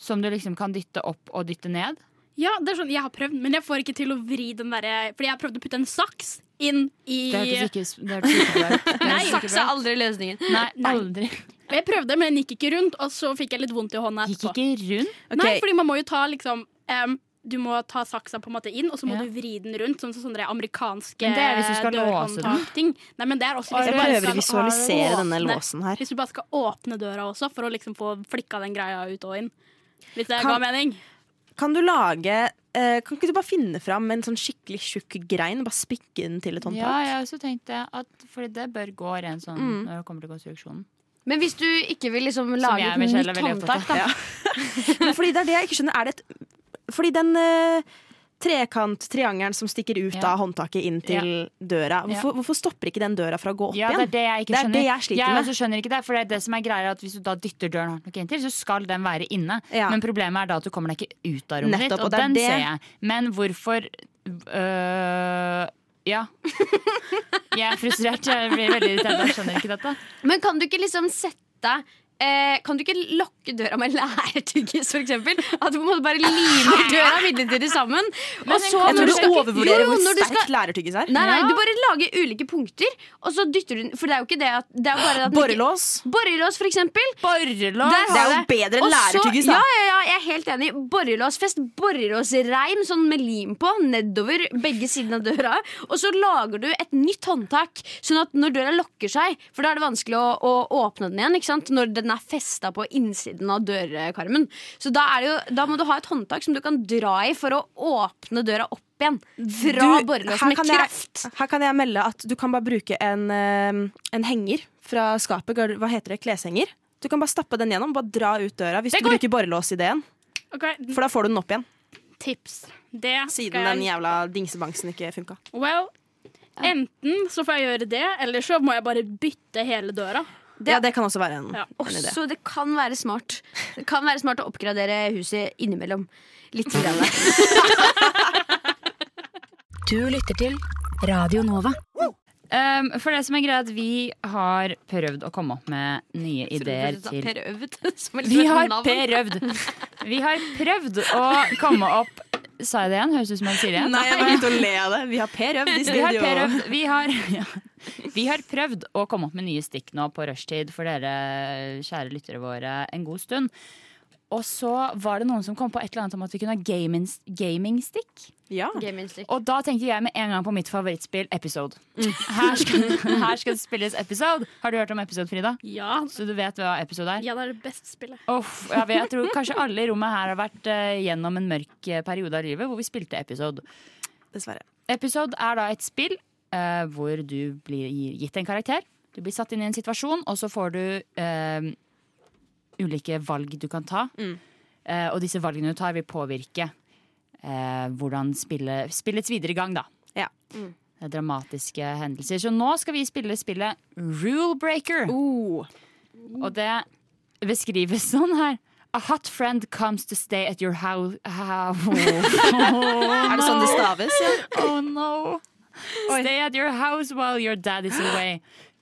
som du liksom kan dytte opp og dytte ned?
Ja, det er sånn, Jeg har prøvd, men jeg får ikke til å vri den derre Fordi jeg har prøvd å putte en saks inn i
Det hørtes ikke det hørtes ikke bra ut. Det hørtes ikke
Saks
bra
er
ut.
aldri løsningen.
Nei, aldri.
Og Jeg prøvde, men den gikk ikke rundt, og så fikk jeg litt vondt i hånda
Gikk
etterpå.
ikke rundt.
Nei, fordi man må jo ta liksom em, Du må ta saksa på en måte inn, og så må
Ja.
du vri den rundt. Sånn som sånne amerikanske
Men det er hvis du skal låse den.
dørhåndtakting. Nei, men det er
Jeg
også hvis
Jeg
du, bare
prøver
skal,
å visualisere
åpne-
denne låsen her.
hvis du bare skal åpne døra også, for å liksom få flikka den greia ut og inn. Hvis det
Kan-
ga mening.
Kan du lage eh, Kan ikke du bare finne fram en sånn skikkelig tjukk grein og bare spikke den til et
Ja,
håndtak?
jeg også tenkte at Fordi det bør gå rent sånn
Mm.
når det kommer til konstruksjonen.
Men hvis du ikke vil liksom lage
jeg,
et
Michelle,
nytt
er veldig opptatt av.
håndtak, da.
Men fordi det er det jeg ikke skjønner. Er det et, fordi den eh, trekant-triangelen som stikker ut
Ja.
av håndtaket inn til døra, hvorfor, hvorfor stopper ikke den døra fra å gå opp
Ja, det
igjen?
er det jeg ikke
Det er
skjønner.
det jeg sliter med.
også skjønner ikke det, for det er det som er greia, at hvis du da dytter døren hardt nok inntil, så skal den være inne.
Ja.
Men problemet er da at du kommer deg ikke ut av rommet
Nettopp,
ditt,
og
og,
det er
den
det-
ser jeg. Men hvorfor øh, Ja. Jeg er frustrert. Jeg blir veldig irritert. Jeg skjønner ikke dette.
Men kan du ikke liksom sette eh, Kan du ikke lokke døra med lærtyggis, for eksempel? At du på en måte bare limer døra midlertidig sammen. Og så når
Jeg tror
du
du
skal-
overvurderer
Jo, jo,
hvor
når du
sterkt
skal-
lærertyggis er.
Nei, nei, du bare lager ulike punkter, og så dytter du den For det er jo ikke det at det er jo bare at den ikke-
Borrelås.
Borrelås, for eksempel.
Borrelås!
Det er jo bedre enn
Og så-
lærertyggis, da.
Ja, ja, ja, jeg er helt enig. Borrelåsfest, borrelåsreim sånn med lim på nedover begge sidene av døra. Og så lager du et nytt håndtak, sånn at når døra lokker seg For da er det vanskelig å, å åpne den igjen ikke sant? når den er festa på innsiden av dørkarmen. Så da, er det jo, da må du ha et håndtak som du kan dra i for å åpne døra opp igjen. Fra
Du,
borrelås
her
med
kan jeg-
kraft.
Her kan jeg melde at du kan bare bruke en, eh, en henger fra skapet. gar- Hva heter det? Kleshenger. Du kan bare stappe den gjennom, bare dra ut døra hvis du bruker borrelåsideen. For da får du den opp igjen.
Tips. Det
Siden
skal
den
jeg
jævla dingsebanksen ikke funka.
Well, enten så får jeg gjøre det, eller så må jeg bare bytte hele døra.
Ja, det kan også være en,
Ja.
en idé.
Også det kan være smart. Det kan være smart å oppgradere huset innimellom. Litt. Grann.
Du lytter til Radio Nova.
Um, for det som er greia er at vi har prøvd å komme opp med nye ideer
sånn.
til
Prøvd.
Vi har prøvd! Vi har prøvd å komme opp Sa jeg det igjen? Høres ut som jeg sier det igjen.
Nei, jeg begynte å le av det. Vi har prøvd i
Vi har
studio.
prøvd, vi har, ja. vi har prøvd å komme opp med nye stikk nå på rushtid for dere kjære lyttere våre en god stund. Og så var det noen som kom på et eller annet om at vi kunne ha gamings- gaming-stikk.
Ja.
Og da tenkte jeg med en gang på mitt favorittspill, Episode.
Mm.
Her skal, her skal det spilles Episode. Har du hørt om Episode, Frida?
Ja.
Så du vet hva Episode er?
ja, det er det beste spillet.
Uff, ja, jeg tror kanskje alle i rommet her har vært eh, gjennom en mørk eh, periode av livet hvor vi spilte Episode.
Dessverre.
Episode er da et spill eh, hvor du blir gitt en karakter. Du blir satt inn i en situasjon, og så får du eh, ulike valg du kan ta. Eh, og disse valgene du tar, vil påvirke eh, hvordan spillet, spillets videre gang, da.
Ja.
Det er dramatiske hendelser. Så nå skal vi spille spillet Rule Breaker.
Oh.
Og det beskrives sånn her. A hot friend comes to stay at your house
Er det sånn det staves? Ja?
Oh no. Stay at your house while your dad is away.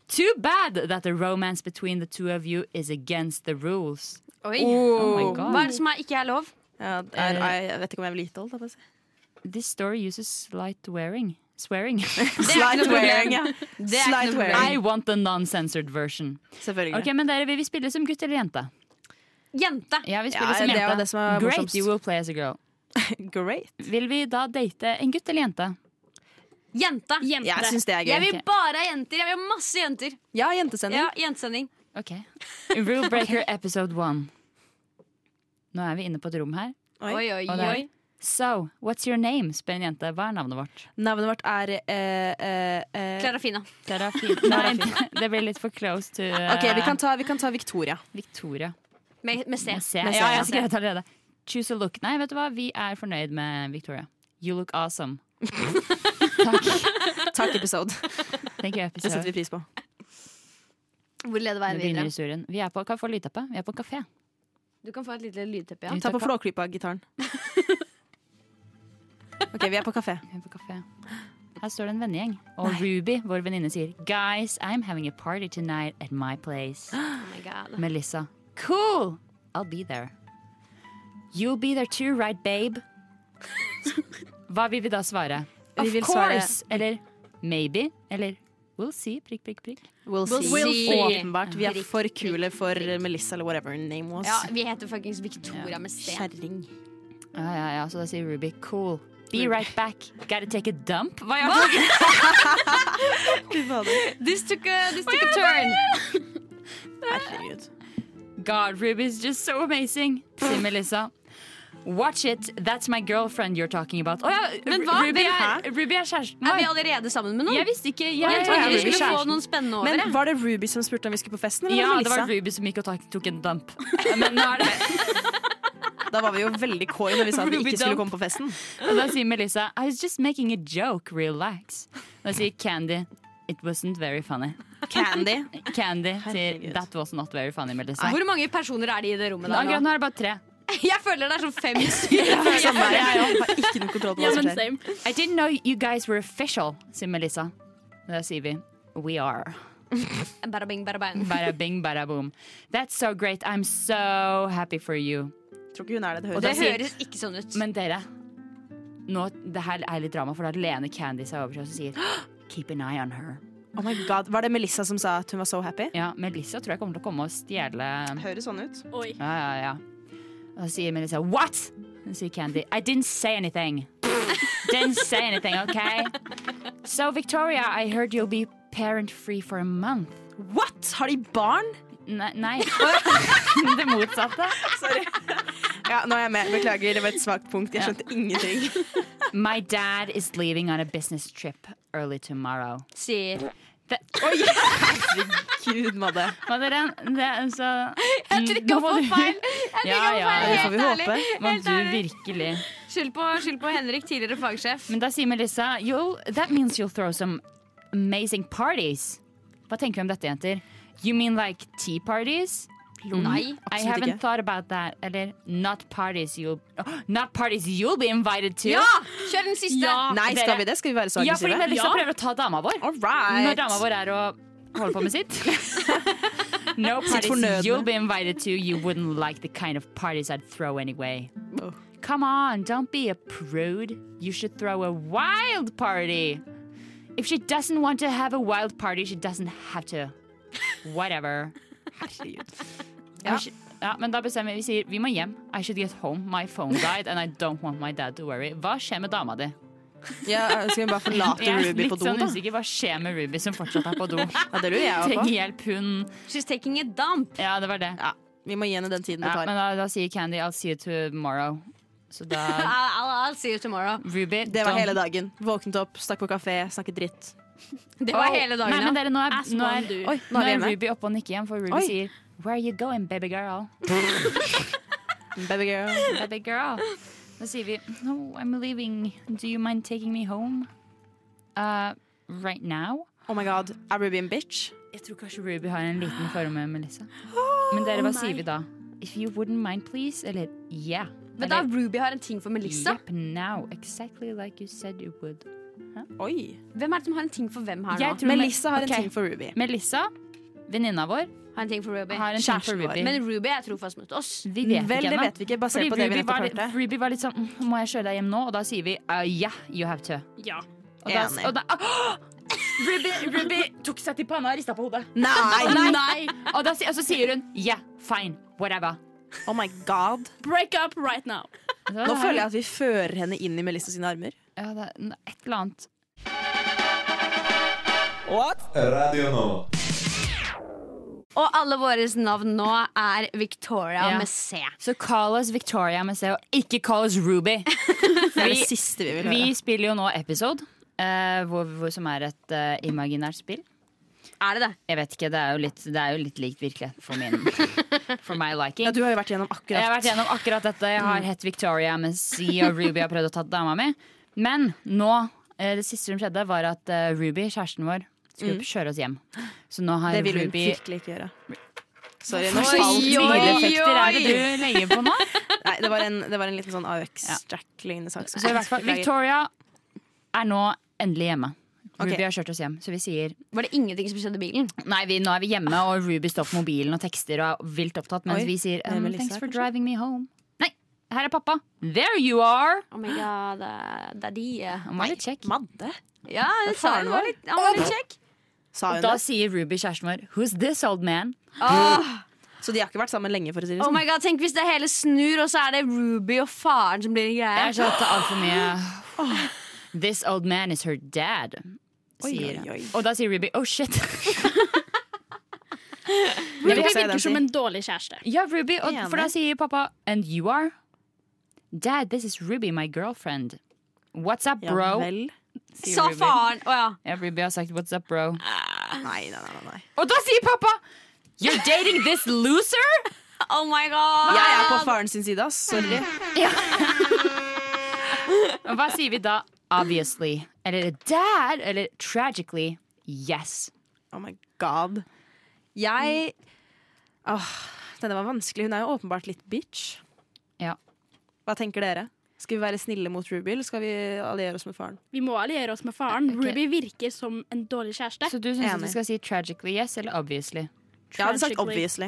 Too bad that the romance between the two of you is against the rules.
Oi.
Oh my god.
Hva er det som er ikke er lov?
Ja, det er, jeg, jeg vet ikke om jeg vil gitt holdt.
This story uses slight wearing. Swearing.
Slight wearing, ja.
er ikke
Slight
noe
wearing.
I want the non-censored version.
Selvfølgelig.
Ok, men dere, Vil vi spille som gutt eller jente?
Jente!
Ja, vi spiller
Ja,
som
det er jo
jente.
det som er
Great,
morsomst.
you will play as a girl.
Great.
Vil vi da date en gutt eller jente?
Jente!
Jente.
Jeg syns det er
Jeg
gøy.
vil bare ha jenter. Jeg vil ha masse jenter.
Ja, jentesending.
Ja, jentesending.
Ok. Rule breaker episode one. Nå er vi inne på et rom her.
Oi.
Oi, oi,
Og det er-
oi.
So, what's your name? spør en jente. Hva er navnet vårt?
Navnet vårt er eh, eh, eh,
Klarafina.
Terapi. Nei, det blir litt for close to eh,
Ok, vi kan, ta, vi kan ta Victoria.
Victoria.
Med, med C.
Med C.
Med C,
Ja,
ja.
jeg skrev det allerede. Choose a look. Nei, vet du hva? Vi er fornøyd med Victoria. You look awesome. Takk.
Takk, episode.
Thank you,
Det setter
episode.
vi pris på.
Hvor leder
Nå
veien
begynner
videre?
historien. Vi er på Kafé Lydteppe. Vi er på en kafé.
Du kan få et lite lydteppe. Ja.
Vi
Ta
tar
på
ka-
flåklypa-gitaren. Ok, vi er på kafé.
Vi er på kafé. Her står det en vennegjeng. Og Ruby, vår venninne, sier Guys, I'm having a party tonight at my place.
Oh my god.
Melissa. Cool! I'll be there. You'll be there too, right, babe? Hva vil vi da svare?
Vi
of
vil svare-
course! Eller maybe? Eller we'll see, prikk, prikk, prikk.
We'll see.
We'll see.
Åpenbart. Vi er
Prikk,
for
prikk,
kule for
prikk.
eh, Melissa eller whatever her name was.
Ja, vi heter fuckings Victoria med C.
Kjerring.
Ja, ja, ja, så da sier Ruby cool. Be right back. Gotta take a dump. Hva gjør du?
This took a, this took a turn.
Herregud.
God, Ruby's just so amazing, sier Melissa. Watch it, that's my girlfriend you're talking about. Å ja,
Men hva?
Ruby
Hvem
er, Ruby er kjæresten
Er vi
vår.
allerede sammen med noen?
Jeg visste ikke. Jeg,
Jeg
jeg-
trodde vi
Ruby
skulle få
kjæresten.
noen spennende over.
Men
jeg.
var det Ruby som spurte om vi skulle på festen, eller
Ja,
var det
det var
Melissa?
Ruby som gikk og tak- tok en dump. Men nå er det
Da var vi jo veldig coy når vi sa at vi
Ruby
ikke skulle
dump.
komme på festen.
Og da sier Melissa I was just making a joke, relax. Da sier Candy It wasn't very funny.
Candy.
Candy sier
Herregud.
That was not very funny, Melissa.
Hvor mange personer er de i det
Men
rommet der
Akkurat
nå?
nå er det bare tre.
Jeg føler det er sånn fem stykker.
Samme her. Jeg har ikke noe kontroll på
Ja,
hva som
men
skjer.
same.
I didn't know you guys were official, sier Melissa. Da sier vi We are.
Bada bing, bada bang.
Bada bing, bada boom. That's so great. I'm so happy for you.
Tror ikke hun er det. Det
Og
Det
høres
da sier-
høres ikke sånn ut.
Men dere, nå, det her er litt drama, for da lener Candy seg over til oss og sier Keep an eye on her.
Oh my god, Var det Melissa som sa at hun var so happy?
Ja, Melissa tror jeg kommer til å komme og stjele
Høres sånn ut.
Oi.
Ja, ja, ja. Og så sier Melissa What? Hun sier Candy I didn't say anything. Didn't say anything, okay? So Victoria, I heard you'll be parent free for a month.
What?! Har de barn?!
Nei, nei. det motsatte.
Sorry. Ja, nå er jeg med. Beklager, det var et svakt punkt. Jeg skjønte ingenting.
My dad is leaving on a business trip early tomorrow.
Sier
Det,
Gud, Madde.
hva dere, det, så,
Jeg trykka
Nå må
på
du-
feil!
Ja,
Jeg trykka
ja,
på
Ja,
feil,
det får
helt
vi
ærlig.
håpe.
Må
Helt
du
ærlig.
virkelig
Skyld på, skyld på Henrik, tidligere fagsjef.
Men da sier Melissa you'll, That means you'll throw some amazing parties Hva tenker vi om dette, jenter? You mean like tea parties?
Nei.
I
Absolutt
haven't
ikke.
thought about that. Eller not parties you'll Åh, Not parties you'll be invited to.
Ja! Kjør den siste!
Ja,
Nei,
dere-
skal vi det? Skal vi være så
Ja, fordi
aggressive?
Melissa
Ja.
prøver å ta dama vår.
All
Når
right.
dama vår er og holder på med sitt. No
Sitt fornødne.
parties you'll be invited to. You wouldn't like the kind of parties I'd throw anyway.
Oh.
Come on, don't be a prude. You should throw a wild party. If she doesn't want to have a wild party, she doesn't have to. Whatever. Ja. ja, men da bestemmer vi. Vi sier vi må hjem. I should get home. My phone died, and I don't want my dad to worry. Hva skjer med dama di?
Ja, skal vi bare forlate
Jeg er
Ruby
litt
på do,
sånn
da?
usikker. Hva skjer med Ruby som fortsatt er på do?
Ja, det lurer jeg
Trenger
også på.
hjelp, hun
She's taking a dump.
Ja, det var det.
Ja, vi må gi henne den tiden det
Ja, men da,
tar.
da sier Candy 'I'll see you tomorrow'. Så da
I'll, I'll, I'll see you tomorrow.
Ruby
Det var
don't-
hele dagen. Våknet opp, stakk på kafé, snakket dritt.
Det var
Oh,
hele dagen.
Nei, men
ja.
dere, nå er,
As
nå
one
er,
do.
Oi,
nå
nå er vi
er
hjemme.
Ruby oppe og nikker igjen, for Ruby
Oi.
sier 'Where are you going, baby girl?'
Baby girl.
Baby girl. Da sier vi 'No, I'm leaving. Do you mind taking me home?' Uh, right now?
Oh my god, er Ruby en bitch?
Jeg tror kanskje Ruby har en liten form med Melissa. Men dere, hva sier vi da? If you wouldn't mind, please? Eller yeah?
Men da
Eller,
Ruby har en ting for
liksom-
Melissa.
Yep, now. Exactly like you said you would.
Oi.
Hvem er det som har en ting for hvem her
Jeg
nå?
tror
Melissa har
Ok.
en ting for Ruby.
Melissa, venninna vår,
Har en ting for Ruby.
har en ting for
Kjæresten vår.
Ruby.
Men Ruby er trofast mot oss.
vi vet
Vel,
ikke
det
ennå.
vet vi ikke, basert
Fordi
på det vi
Ruby var,
nettopp
litt,
hørte.
Ruby var litt sånn "Mm, Må jeg kjøre deg hjem nå? Og da sier vi uh, yeah, you have to.
Ja.
Og da,
Enig.
og da, Åh! Ruby, Ruby tok seg til panna og rista på hodet.
Nei!
Nei! Og, da, si- og så sier hun yeah, fine, whatever.
Oh my god.
Break up right now.
Nå føler jeg at vi fører henne inn i Melissa sine armer.
ja, det, er Et eller annet.
Radio Nova.
Og alle våre navn nå er Victoria
Ja.
med C.
Så call us Victoria med C, og ikke call us Ruby.
Det er
Vi-
det siste vi vil høre.
Vi spiller jo nå Episode, eh, hvor, hvor, som er et eh, imaginært spill.
Er det det?
Jeg vet ikke, det er jo litt, det er jo litt likt virkeligheten for, min- for my liking.
Ja, du Mm. har jo vært gjennom
Jeg har
akkurat
vært gjennom akkurat dette. Jeg har hett Victoria Messi, og Ruby har prøvd å ta dama mi. Men nå, eh, det siste som skjedde, var at eh, Ruby, kjæresten vår, skulle kjøre oss hjem. Så nå har
Mm. Det vil hun
Ruby
virkelig ikke gjøre. Sorry, nå
Oi,
falt
oi,
smilet.
Effekter er det du legger på nå?
Nei, det var en, det var en liten sånn AUX-jack-lignende sak.
Så i hvert fall, Victoria er nå endelig hjemme. Ruby
Ok.
har kjørt oss hjem, så vi sier
Var det ingenting som skjedde i bilen?
Nei, vi, nå er vi hjemme, og Ruby står på mobilen og tekster og er vilt opptatt, mens
Oi,
vi sier
det er
um,
Melissa,
Thanks for
kanskje?
driving me home. Nei, her er pappa. There you are!
Oh my god, eh, det er de eh.
Han var litt kjekk.
Madde?
Ja, jeg sa
faen
han
var
var
det?
litt, han var litt kjekk.
Sa hun
Da
det?
sier Ruby kjæresten vår Who's this old man?
Så de har ikke vært sammen lenge, for å si det
Oh
sånn.
my god, Tenk hvis det hele snur, og så er det Ruby og faren som blir en
Jeg
greie.
har sett altfor mye This old man is her dad sier.
oi, oi.
Og da sier Ruby oh shit
Ruby
vil jeg si, den
virker som
sier.
en dårlig kjæreste.
Ja Ruby, og, for da
Enig.
sier pappa And you are? Dad, this is Ruby, my girlfriend What's up
Ja
bro?
vel.
sier
Sa
Ruby.
faren. Å ja.
Ja, Ruby har sagt what's up bro
Nei, nei, nei. nei.
Og da sier pappa You're dating this loser?
Oh my god.
Jeg er på faren sin side, ass. Sorry.
Og hva sier vi da? Obviously Eller dad, eller tragically Yes
Oh my god. Mm. Jeg Åh, Denne var vanskelig. Hun er jo åpenbart litt bitch.
Ja.
Hva tenker dere? Skal vi være snille mot Ruby, eller skal vi alliere oss med faren?
Vi må alliere oss med faren. Ruby virker som en dårlig kjæreste.
Så du synes at
Enig.
vi skal si tragically yes eller obviously?
Jeg hadde sagt
Tragically.
obviously.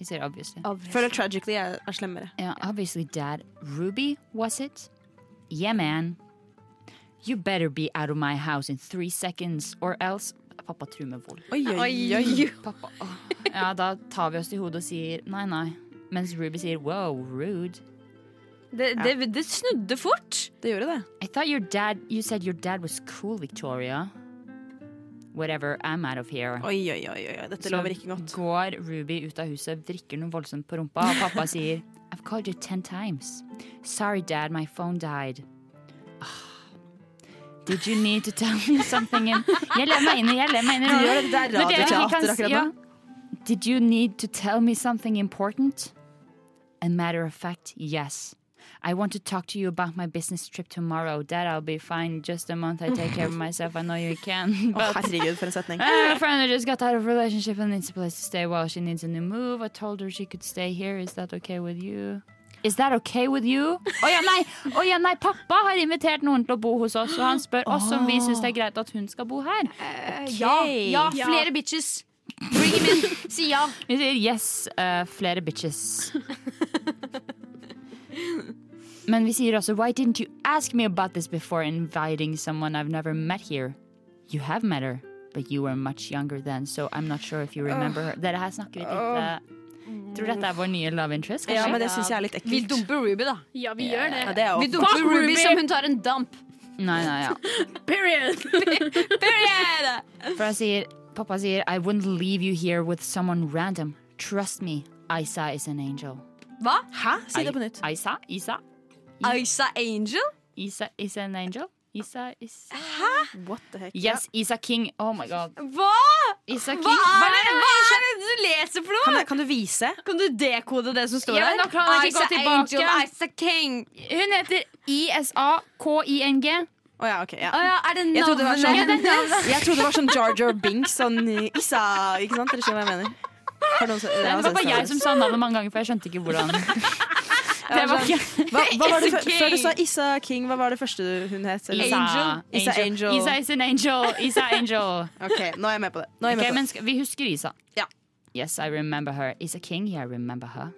Vi sier obviously
Oh.
Føler tragically er, er slemmere.
Yeah, obviously, Dad. Ruby, was it? Yeah, man. You better be out of my house in three seconds, or else Pappa truer med vold.
Oi, oi, oi.
Pappa, åh. Ja, da tar vi oss til hodet og sier nei, nei. Mens Ruby sier wow, rude.
Det, det, det snudde fort.
Det gjorde det.
I thought your dad You said your dad was cool, Victoria. Whatever, I'm out of here.
Oi, oi, oi, oi. oi. Dette
Så
lover ikke godt.
går Ruby ut av huset, vrikker noe voldsomt på rumpa, og pappa sier I've called you ten times. Sorry, dad, my phone died. Ah. Did you need to tell me something? In jeg lever meg inn i jeg lever meg inn i
Du gjør
rollen.
det, det er
Når dere ikke kan
radioteater
si-
akkurat nå.
ja. Did you need to tell me something important? A matter of fact, yes. I want to talk to you about my business trip tomorrow. Dad, I'll be fine. Just a month. I take care of myself. I know you can.
Å,
But
herregud, for en setning.
Uh, friend who just got out of a relationship and needs a place to stay while she needs a new move. I told her she could stay here. Is that okay with you? Is that okay with you? Å ja, nei! Å ja, nei, Pappa har invitert noen til å bo hos oss, og han spør oss om vi syns det er greit at hun skal bo her.
Ja, ja, flere bitches. Bring him in. Si ja.
Vi sier yes, eh, flere bitches. Men vi sier også Why didn't you ask me about this before inviting someone I've never met here? You have met her, but you were much younger then, so I'm not sure if you remember her. Dere her snakker vi litt eh, Tror dette er vår nye love interest,
Ja,
kanskje?
men det syns jeg er litt
Vi
ekkelt.
dumper Ruby, da.
Ja, vi gjør det.
Ja, det er
Vi
jo
dumper
Fuck
Ruby,
Ruby!
som hun tar en damp.
Nei, nei, ja.
Period.
Period!
For jeg sier Pappa sier I wouldn't leave you here with someone random. Trust me, Isa is an angel.
Hva?
Hæ? Si det er på nytt.
Isa? Isa?
Isa Angel?
Isa is an angel? Isa is
What the heck?
Yes, Isa King. Oh my god.
Hva?
Isa King.
Hva
Hva
er, det, hva er det du leser for
Kan,
noe?
jeg, kan du vise?
Kan du dekode det som står
Ja, men
der?
da kan han ikke gå
Isa
tilbake.
Angel, Isa King.
Hun heter ISA-KING.
Å ja, OK. Ja.
Å ja, er det
Jeg trodde det var sånn,
navnet?
jeg trodde det var sånn Jar Jar Binks, sånn Isa Ikke sant? Dere skjønner hva jeg mener? Har noen så-
Det
ja,
var
sånn
bare jeg
Star
som
Wars.
sa navnet mange ganger, for jeg skjønte ikke hvordan Det var ikke
hva, hva var det
Isa
før, før du sa
King.
Isa King, hva var det første hun het? eller?
Isa
Isa
Angel.
Angel.
Isa is an angel. Isa Angel.
OK, nå er jeg med på det. Nå er jeg
Ok,
med på
men
det.
sk- vi husker Isa.
Ja.
Yes, I remember her. Isa King, yeah, I remember her.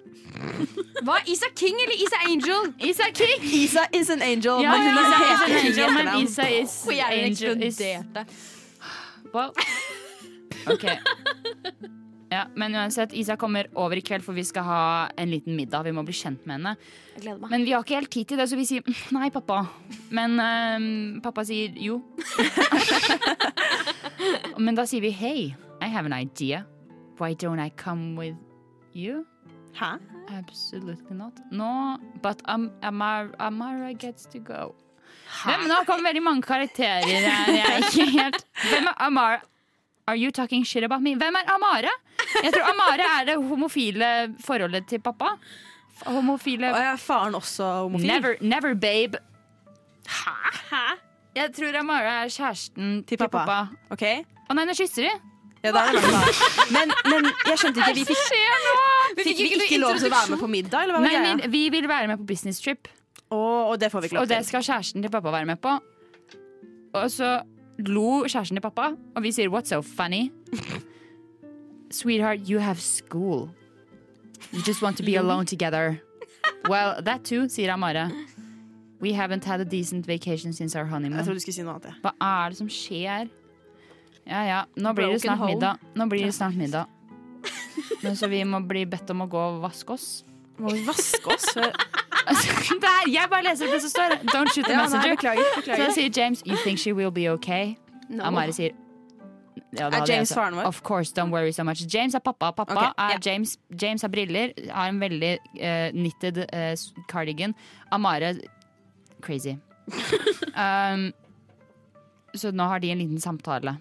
Hva? Isa King eller Isa Angel?
Isa King!
Isa is an angel,
Ja,
men hun
Isa is an
er helt
angel, men
etternavn.
Isa is
Hvor hjernen
angel is-
eksploderte.
Wow. Ok. Ja, men uansett, Isa kommer over i kveld, for vi skal ha en liten middag. Vi må bli kjent med henne.
Jeg gleder meg.
Men vi har ikke helt tid til det, så vi sier "Mm, nei, pappa. Men ehm, pappa sier jo. Men da sier vi hey, I have an idea. Why don't I come with you?
Hæ?
Absolutely not. No, but Am Amara, Amara gets to go. Hvem, nå kom veldig mange karakterer her. Jeg er ikke helt Hvem er Amara? Are you talking shit about me? Hvem er Amara? Jeg tror Amara er det homofile forholdet til pappa. F- Homofile
Og er faren også homofil?
Never, never babe. Jeg tror Amara er kjæresten til,
Til
pappa.
pappa. OK?
Å nei, nå kysser de!
Ja, da er det langt. Men, men jeg skjønte ikke. Vi
Hva
fikk,
skjer nå?
fikk vi ikke lov til å være med på middag, eller hva var
Nei,
greia?
vi, vi vil være med på business trip,
Å, og det får vi ikke
og
lov
det
til.
skal kjæresten til pappa være med på. Og så lo kjæresten til pappa, og vi sier 'what's so funny'? Sweetheart, you have school. You just want to be alone together. Well, that too, sier Amara. We haven't had a decent vacation since our honeymoon.
Jeg trodde du skulle si noe annet. jeg.
Hva er det som skjer? Ja ja, nå blir det
Broken
snart
home.
middag. Nå blir det snart middag. Men så vi må bli bedt om å gå og vaske oss.
Må vi vaske oss? før-
Altså, Der, jeg bare leser det som står. Don't shoot the
Ja, nei,
messenger.
beklager.
Så da
beklager.
sier James You think she will be okay? Amare sier ja, da
Er
hadde jeg
James
også-
faren vår?
Of course, don't worry so much. James er pappa. Pappa
Ok, ja.
er James. James har briller, har en veldig eh, knitted eh, s- cardigan. Amare crazy. um, så nå har de en liten samtale.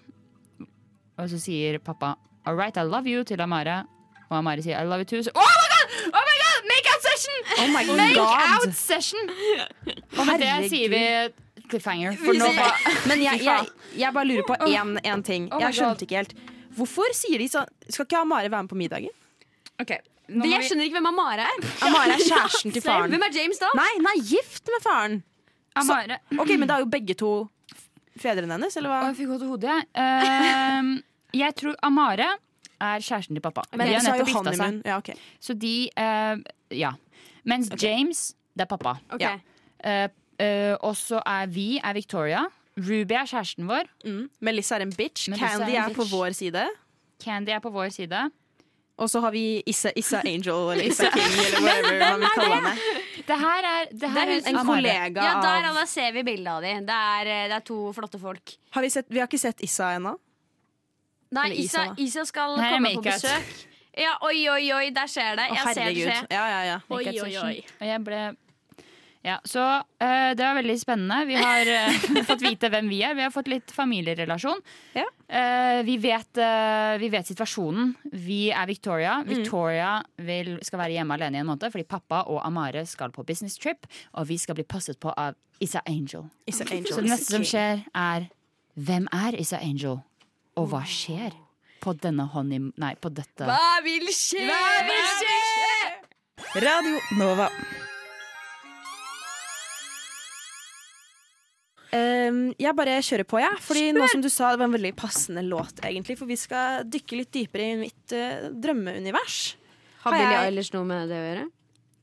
Og så sier pappa All right, I love you til Amare. Og Amare sier I love you too. Så, oh my god! Oh my god! Make out session!
Oh my
Make
god!
out session! Og med det
Herregud.
sier vi cliffhanger. For nå
sier- Men jeg, jeg, jeg bare lurer på én én ting.
Oh my
Jeg skjønte ikke helt. Hvorfor sier de sånn Skal ikke Amare være med på middagen?
Men Jeg skjønner ikke hvem Amara er.
Amare er kjæresten til faren.
Hvem er James da?
Nei, hun er gift med faren!
Amare
Ok, Men da er jo begge to fedrene hennes, eller
Å,
hva?
jeg fikk vondt i hodet, jeg. Ehm, jeg tror Amare er kjæresten til pappa.
Men
de har
ellers har jo
nettopp
han
gifta
i
seg.
munnen. Ja, ok.
Så de eh, Ja. Mens James, det er pappa.
Ok.
Ja.
Eh, eh, og så er vi er Victoria. Ruby er kjæresten vår.
Mm. Melissa er en bitch.
Melissa er
Candy
en
er på
bitch.
vår side.
Candy er på vår side.
Og så har vi Issa, Issa Angel eller Issa King eller whatever man vil kalle henne.
Det her er, det her
Det er
er,
hun-
En
Amare.
kollega
Ja, der
av
da ser vi bildet av dem. Det er, eh, det er to flotte folk.
har vi, sett, vi har ikke sett Issa ennå.
Nei,
Eller
Isa,
Isa, da.
Isa skal
Her er
komme på
make-out.
besøk. Ja, oi, oi, oi, der skjer det.
Å,
Jeg ser det skje.
herregud. Ja, ja, ja.
Oi,
Make-up
oi,
session.
oi.
Og jeg ble Ja, så eh, det var veldig spennende. Vi har eh, fått vite hvem vi er. Vi har fått litt familierelasjon.
Ja.
Eh, vi, vet, eh, vi vet situasjonen. Vi er Victoria. Victoria vil, skal være hjemme alene i en måned fordi pappa og Amare skal på business trip. Og vi skal bli passet på av Issa Angel.
Is an angel.
Så det neste som skjer, er hvem er Issa Angel? Og hva skjer på denne honey... Nei, på dette.
Hva vil skje?
Radio Nova. Ehm, jeg bare kjører på, jeg. Fordi nå som du sa, det var en veldig passende låt, egentlig. For vi skal dykke litt dypere i mitt eh, drømmeunivers.
Har
Har
Billie
jeg-
Eilish noe med det å gjøre?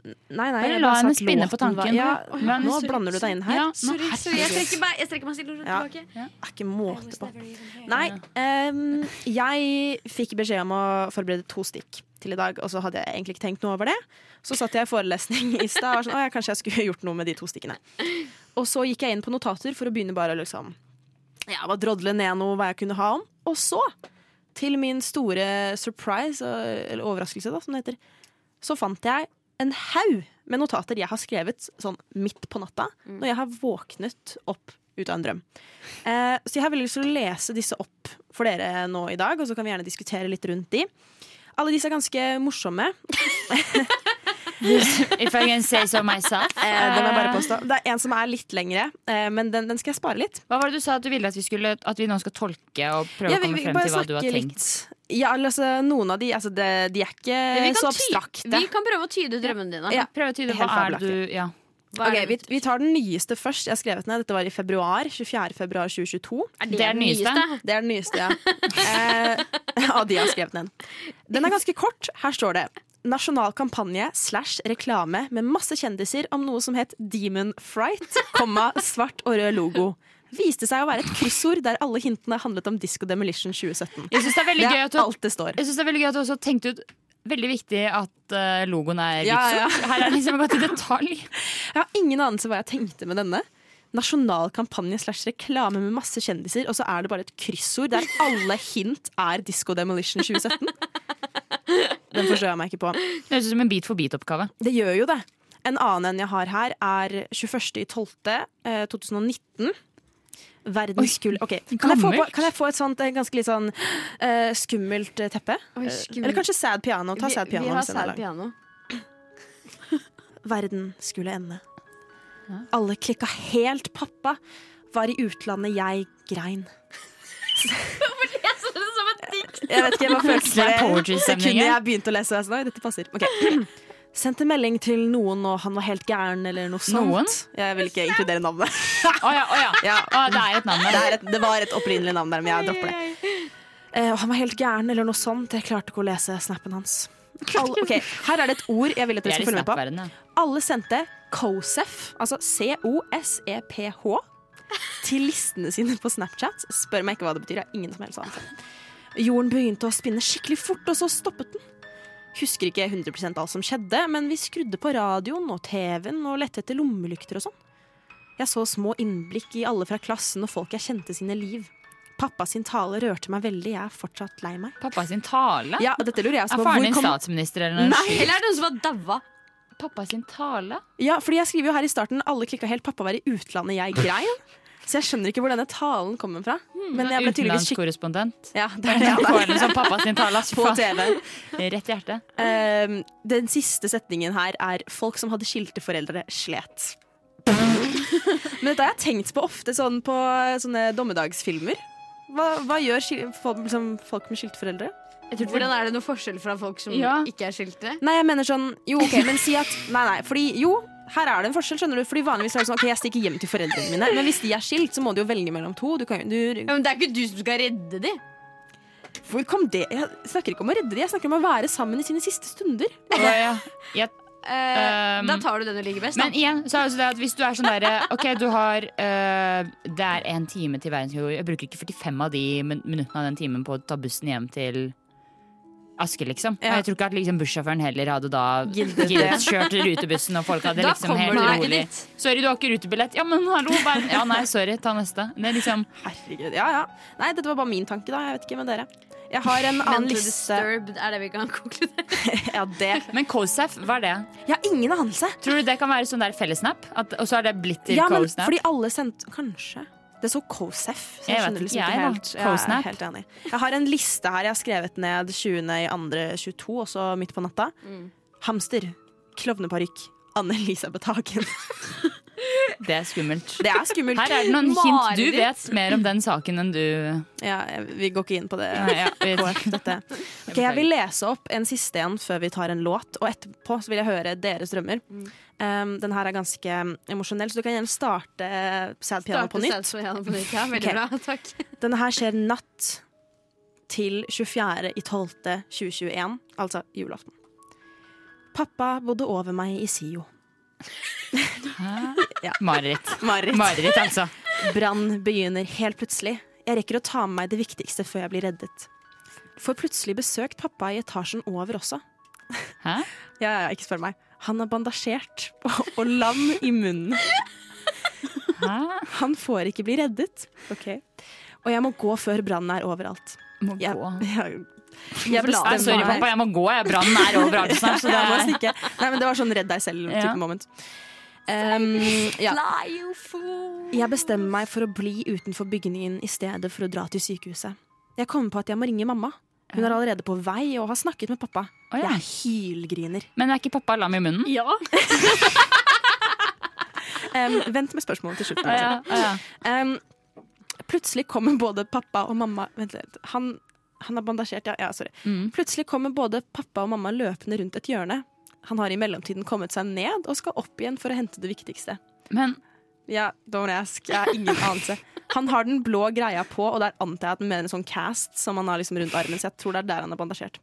Nei, nei,
Bare
jeg
la
bare sa
henne
at
spinne på
låten var-
tanken.
Ja,
La henne-
nå blander du deg inn her.
Ja, nå-
Sorry, sorry, jeg
herregud.
trekker meg, jeg strekker meg stille og rolig
Ja.
tilbake.
Det er ikke måte på. Nei, ehm, jeg fikk beskjed om å forberede to stikk til i dag, og så hadde jeg egentlig ikke tenkt noe over det. Så satt jeg i forelesning i stad og var sånn, å ja, kanskje jeg skulle gjort noe med de to stikkene. Og så gikk jeg inn på notater for å begynne bare å liksom, ja, bare drodle ned noe hva jeg kunne ha om. Og så, til min store surprise, og- eller overraskelse da, som det heter, så fant jeg en haug med notater jeg har skrevet sånn midt på natta, når jeg har våknet opp ut av en drøm. Eh, så jeg har veldig lyst til å lese disse opp for dere nå i dag, og så kan vi gjerne diskutere litt rundt de. Alle disse er ganske morsomme. Eh,
If I can say so myself.
Eh, det må jeg bare påstå. Det er en som er litt lengre, eh, men den, den skal jeg spare litt.
Hva var det du sa at du ville at vi, skulle, at vi nå skal tolke og prøve
Ja, vi-
å komme
vi
frem
bare
til hva du har
snakker
tenkt?
litt. Ja, eller altså, noen av de, altså, de, de er ikke
Men vi kan
så
ty-
abstrakte.
Vi kan prøve å tyde drømmene dine.
Ja.
Prøve å tyde hva
Helt
er du
fabelaktig.
ja.
Hva
Ok,
er
vi,
det?
vi tar den nyeste først. Jeg har skrevet ned. Dette var i februar. 24. februar 2022.
Det er den nyeste.
Det er den nyeste, ja. Eh, av de jeg har skrevet ned. Den er ganske kort. Her står det Nasjonal kampanje slash reklame med masse kjendiser om noe som het Demon Fright, komma svart og rød logo. Viste seg å være et kryssord der alle hintene handlet om Disco Demolition 2017.
Jeg syns det er
Det
veldig gøy
er
at du,
alt det står.
jeg synes det er veldig gøy at du også tenkte ut Veldig viktig at eh, logoen er
Ja,
hvit. så Her er det liksom gått i detalj.
Jeg har ingen anelse hva jeg tenkte med denne. Nasjonal kampanje slash reklame med masse kjendiser, og så er det bare et kryssord der alle hint er Disco Demolition 2017. Den forstår jeg meg ikke på.
Det høres ut som en bit for bit-oppgave.
Det gjør jo det. En annen en jeg har her, er eh, 21.12.2019. Verdens gull Ok, kan jeg, få på,
gammelt.
kan jeg få et sånt eh, ganske litt sånn eh, skummelt eh, teppe? Eller kanskje sad piano. Ta sad piano.
Vi, vi har
hvis den er
sad
lang.
piano.
Verden skulle ende. Alle klikka helt. Pappa var i utlandet, jeg grein. Hvorfor leser du det som et dikt? Jeg vet ikke, jeg var følelsen
Det er
for det.
poetry-stemning
Sekundet
her.
jeg begynte å lese, var jeg sånn, oi, dette passer. Ok. Sendte melding til noen, og han var helt gæren, eller noe sånt.
Noen?
Jeg vil ikke inkludere navnet.
Å ja, å ja.
Ja.
Å, det er et navn
Det,
der.
er et, det var et opprinnelig navn der, men jeg dropper det. Eh, og han var helt gæren, eller noe sånt. Jeg klarte ikke å lese snappen hans. Alle, ok, Her er det et ord jeg vil at
Vi
dere
er i
skal følge med på.
snappverdenen. ja.
Alle sendte COSEF, altså C-O-S-E-P-H, E til listene sine på Snapchat. Spør meg ikke hva det betyr. Jeg har ingen som helst anelse. Jorden begynte å spinne skikkelig fort, og så stoppet den. Husker ikke 100 alt som skjedde, men vi skrudde på radioen og TV-en og lette etter lommelykter og sånn. Jeg så små innblikk i alle fra klassen og folk jeg kjente sine liv. Pappa sin tale rørte meg veldig, jeg er fortsatt lei meg.
Pappa sin tale?
Ja, dette lurer jeg også
Er
på.
faren din
Hvor kom-
statsminister eller noe?
Eller er det noen som har daua?
Pappa sin tale?
Ja, fordi jeg skriver jo her i starten Alle klikka helt, pappa var i utlandet, jeg grein Så jeg skjønner ikke hvor denne talen kommer fra Men jeg ble tydeligvis skikkelig
Utenlandskorrespondent.
ja, det er det
Får
jeg
en sånn pappa sin tale ass,
er på
faen.
TV
Rett i hjertet.
um, Den siste setningen her er Folk som hadde skilte foreldre slet Men dette har jeg tenkt på ofte Sånn på sånne dommedagsfilmer Hva, hva gjør skil, folk, liksom, folk med skilte foreldre?
Hvordan er det noe forskjell fra folk som
Ja.
ikke er skilte?
Nei, jeg mener sånn Jo, ok, men si at Nei, nei, fordi jo her er det en forskjell, skjønner du Fordi vanligvis er det sånn Ok, jeg stikker hjem til foreldrene mine Men hvis de er skilt, så må du jo velge mellom to Du kan jo du,
Ja, men det er ikke du som skal redde dem.
Hvor kom det? Jeg snakker ikke om å redde dem Jeg snakker om å være sammen i sine siste stunder
Å, ja. Jeg
Eh,
Um,
da tar du den du liker best.
Men
Da.
igjen, så er det også det at hvis du er sånn derre Ok, du har øh, Det er en time til verdens jord. Jeg bruker ikke 45 av de min minuttene av den timen på å ta bussen hjem til Asker, liksom.
Ja.
Og jeg tror ikke at liksom, bussjåføren heller hadde da
Gildet det.
gildet kjørt rutebussen, og folk hadde
Da
liksom helt
kommer du
rolig
dit.
Sorry, du har ikke rutebillett. Ja, men hallo, bare Ja, nei, sorry, ta neste. Det er liksom
Herregud, ja, ja Nei, dette var bare min tanke da Jeg vet ikke med dere Jeg har en annen
Mentally
liste.
disturbed er det vi kan konkludere.
Ja, det.
Men CoSAF, hva er det?
Jeg har ingen anelse.
Tror du det kan være sånn der fellesnap? At- Og så er det blitter
Ja, men
CoSnap?
fordi alle sendte Kanskje. Det så COSEF. Så jeg
Jeg vet
skjønner liksom
ikke,
ikke
jeg, da.
helt. Jeg
CoSnap.
er helt enig. Jeg har en liste her jeg har skrevet ned 20. i andre 22, også midt på natta. Hamster. Klovneparykk. Anne-Elisabeth Hagen.
Det er skummelt.
Det er skummelt.
Her er det noen hint. Du
Mareritt.
vet mer om den saken enn du
Ja, jeg- vi går ikke inn på det.
Nei, ja, vi-
KF, dette. Ok, jeg vil lese opp en siste en før vi tar en låt, og etterpå så vil jeg høre deres drømmer. Um, den her er ganske emosjonell, så du kan gjerne starte Sad Piano på nytt.
Piano på nytt. Ja, veldig
Ok.
bra. Takk.
Denne her skjer natt til 24.12.2021, altså julaften. Pappa bodde over meg i SIO.
Mareritt.
Mareritt.
Mareritt, altså.
Brann begynner helt plutselig. Jeg rekker å ta med meg det viktigste før jeg blir reddet. Får plutselig besøkt pappa i etasjen over også.
Hæ?
Ja, ja, ikke spør meg. Han er bandasjert og, og lam i munnen.
Hæ?
Han får ikke bli reddet. Ok. Og jeg må gå før brannen er overalt.
Må
Jeg,
gå.
jeg, jeg
Nei,
bestemmer
sorry,
meg.
pappa, jeg må gå. jeg. Brannen er overalt snart. Så det
Jeg må
er...
stikke. Nei, men det var sånn redd deg selv-type
Ja.
moment. Ehm, ja.
Fly, you fool.
Jeg bestemmer meg for å bli utenfor bygningen i stedet for å dra til sykehuset. Jeg kommer på at jeg må ringe mamma. Hun er allerede på vei og har snakket med pappa.
Å, ja.
Jeg hylgriner.
Men er ikke pappa lam i munnen?
Ja.
Ehm, vent med spørsmålet til slutt.
Å ja, å ja.
Ehm, plutselig kommer både pappa og mamma Vent litt. Han, han er bandasjert, ja. ja sorry.
Mm.
Plutselig kommer både pappa og mamma løpende rundt et hjørne. Han har i mellomtiden kommet seg ned og skal opp igjen for å hente det viktigste.
Men
Ja, don't ask. Jeg har ingen anelse. Han har den blå greia på, og der antar jeg at han mener en sånn cast som han har liksom rundt armen. Så jeg tror det er der han er bandasjert.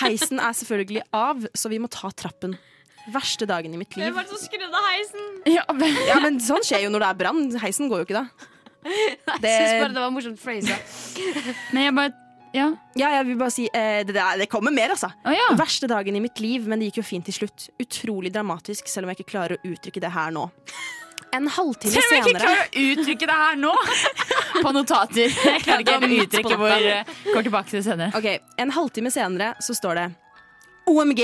Heisen er selvfølgelig av, så vi må ta trappen. Verste dagen i mitt liv.
var det som skrudde heisen?
ja, men,
Ja, men sånn skjer jo når det er brann. Heisen går jo ikke da.
Jeg syns bare det var morsomt phrasa.
men jeg bare Ja.
Ja, jeg vil bare si eh, det, der, det kommer mer, altså.
Å ja.
Verste dagen i mitt liv, men det gikk jo fint til slutt. Utrolig dramatisk, selv om jeg ikke klarer å uttrykke det her nå. En halvtime
Selv om jeg ikke
senere
klarer å uttrykke det her nå! På notater. Jeg klarer ikke helt å uttrykke hvor eh, Går tilbake til det senere.
Ok, En halvtime senere så står det OMG!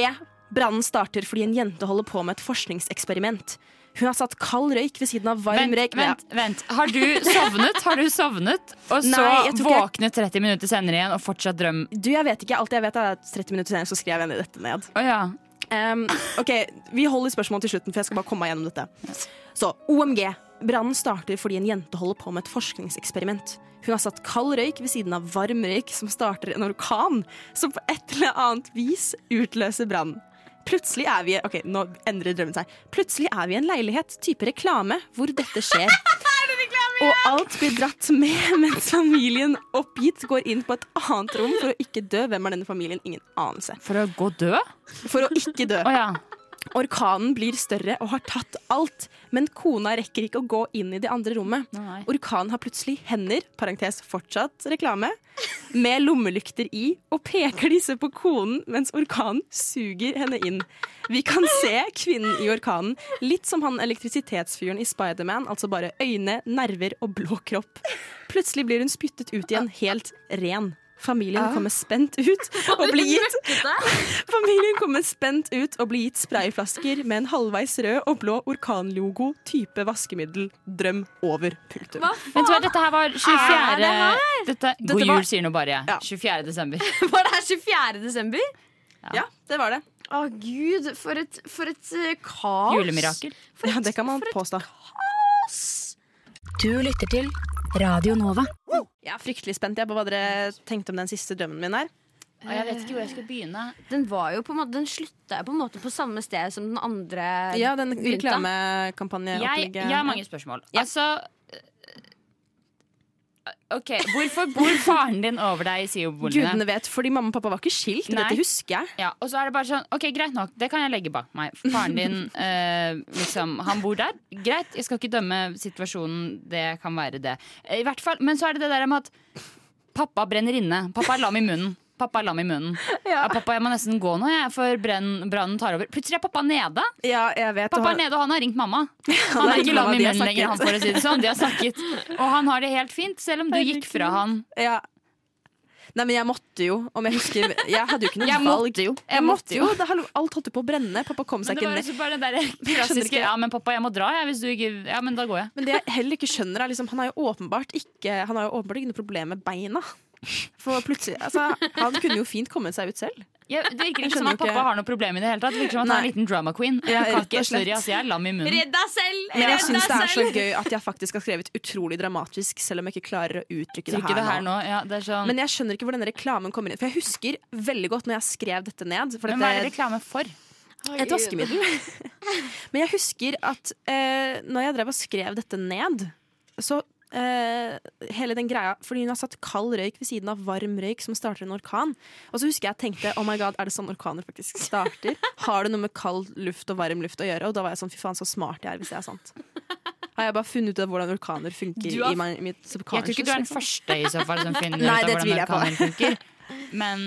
Brannen starter fordi en jente holder på med et forskningseksperiment. Hun har satt kald røyk ved siden av varm
Vent,
røyk.
vent, vent. Har du sovnet? Har du sovnet? Og så
Nei, jeg tror ikke jeg-
våknet 30 minutter senere igjen og fortsatt drøm.
Du, jeg vet ikke. Alt jeg vet, er at 30 minutter senere så skrev jeg ned dette ned.
Å ja.
Ehm, ok, Vi holder spørsmålet til slutten, for jeg skal bare komme meg gjennom dette. Så, OMG. Brannen starter fordi en jente holder på med et forskningseksperiment. Hun har satt kald røyk ved siden av varm røyk som starter en orkan, som på et eller annet vis utløser brann. Plutselig er vi Ok, nå endrer drømmen seg. Plutselig er vi i en leilighet, type reklame, hvor dette skjer. Og alt blir dratt med mens familien oppgitt går inn på et annet rom for å ikke dø. Hvem er denne familien? Ingen anelse.
For å gå død? Å
For å ikke dø.
ja.
Orkanen blir større og har tatt alt, men kona rekker ikke å gå inn i det andre rommet.
Nei.
Orkanen har plutselig hender, parentes fortsatt reklame, med lommelykter i, og peker disse på konen mens orkanen suger henne inn. Vi kan se kvinnen i orkanen, litt som han elektrisitetsfyren i Spiderman, altså bare øyne, nerver og blå kropp. Plutselig blir hun spyttet ut igjen, helt ren. Familien kommer spent ut og blir gitt Familien kommer spent ut og blir gitt sprayflasker med en halvveis rød og blå orkanlogo type vaskemiddel. Drøm over. Punktum.
Vet du hva, dette her var 24. Dette, God
var-
jul, sier nå bare jeg.
Ja.
24. desember.
Var det her 24. desember?
Ja, det var det.
Å gud, for et, for et eh, kaos.
Julemirakel.
Ja, det kan man påstå.
Du lytter til Radio Nova.
Jeg er fryktelig spent jeg, på hva dere tenkte om den siste drømmen min her.
Og jeg vet ikke hvor jeg skal begynne.
Den var jo på en måte Den slutta jo på en måte på samme sted som den andre.
Ja, den
begynte.
Jeg,
reklameopplegget.
jeg har mange spørsmål. Altså øh, OK, hvorfor bor faren din over deg i SIO-boligene?
Gudene vet, fordi mamma og pappa var ikke skilt.
Nei.
Dette husker jeg.
Ja, og så er det bare sånn, ok, greit nok, det kan jeg legge bak meg. Faren din, eh, liksom, han bor der. Greit, jeg skal ikke dømme situasjonen, det kan være det. Eh, I hvert fall, men så er det det der med at pappa brenner inne. Pappa er lam i munnen. Pappa er lam i munnen. Ja. pappa, jeg må nesten gå nå, jeg, for brenn- brannen tar over. Plutselig er pappa nede.
Ja, jeg vet.
Pappa er
og-
nede, og han har ringt mamma.
har
Han er
ringt
ikke lam
mamma,
i
de har
munnen lenger, han
snakket.
for å si det sånn. De har snakket. Og han har det helt fint, selv om du gikk fra han.
ja. Nei, men jeg måtte jo. Om jeg husker Jeg hadde jo ikke noe
Jeg
valg.
måtte jo.
Jeg måtte jo. Det, hallo, alt holdt jo på å brenne. Pappa kom
Men
seg
det
ikke
var liksom-
ned.
også bare den der
skjønner
klassiske
ikke.
Ja, men pappa, jeg må dra, jeg, hvis du ikke Ja, men da går jeg.
Men det jeg heller ikke skjønner, er liksom Han har jo åpenbart ikke Han har jo åpenbart ikke noe problem med beina. For plutselig Altså, han kunne jo fint kommet seg ut selv.
jeg det virker
Jeg
ikke som
skjønner
at
jo
pappa
ikke.
har noe problem i det hele tatt. Det virker som at han er en
Nei.
liten drama queen.
Ja,
Jeg,
rett
kan
og
ikke,
slett.
sorry, ass, jeg er lam i munnen.
Redd deg selv!
Men jeg
Redd
syns
deg
det er så
selv!
gøy at jeg faktisk har skrevet utrolig dramatisk, selv om jeg ikke klarer å uttrykke det
Trykker
her,
det her
nå.
nå. Ja, det er sånn
Men jeg skjønner ikke hvor denne reklamen kommer inn. For jeg husker veldig godt når jeg skrev dette ned. For
Men hva er det
dette,
reklame for?
et vaskemiddel. Men jeg husker at eh, når jeg drev og skrev dette ned, så eh, hele den greia Fordi hun har satt kald røyk ved siden av varm røyk som starter en orkan. Og så husker jeg jeg tenkte oh my god, er det sånn orkaner faktisk starter? Har det noe med kald luft og varm luft å gjøre? Og da var jeg sånn fy faen, så smart jeg er hvis det er sant. Har jeg bare funnet ut av hvordan orkaner funker
Du har-
i meg- mitt
Jeg tror
subconscious?
ikke du er den
liksom.
første i så fall som finner ut
Nei,
av
det
hvordan
tviler jeg på.
orkaner funker. Men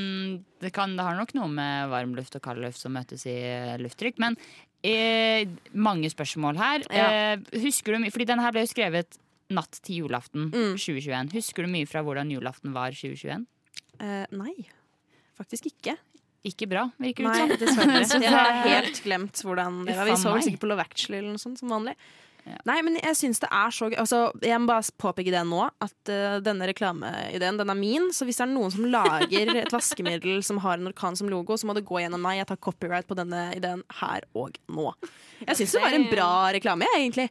det, kan, det har nok noe med varm luft og kald luft som møtes i eh, lufttrykk. Men eh, mange spørsmål her.
Ja.
Eh, husker du mye Fordi denne her ble jo skrevet natt til julaften
Mm.
2021. Husker du mye fra hvordan julaften var 2021?
Eh, nei, faktisk ikke.
Ikke bra, virker det
Nei,
som.
dessverre.
Så
Jeg har
det-
helt glemt hvordan det var. Vi
Uffa
så vel
meg.
sikkert på Love Actually eller noe sånt som vanlig. Nei, men jeg syns det er så gøy. Altså, jeg må bare påpeke det nå, at eh, denne reklameideen den er min. Så hvis det er noen som lager et vaskemiddel som har en orkan som logo, så må det gå gjennom meg. Jeg tar copyright på denne ideen her og nå. Jeg syns det var en bra reklame, jeg, egentlig.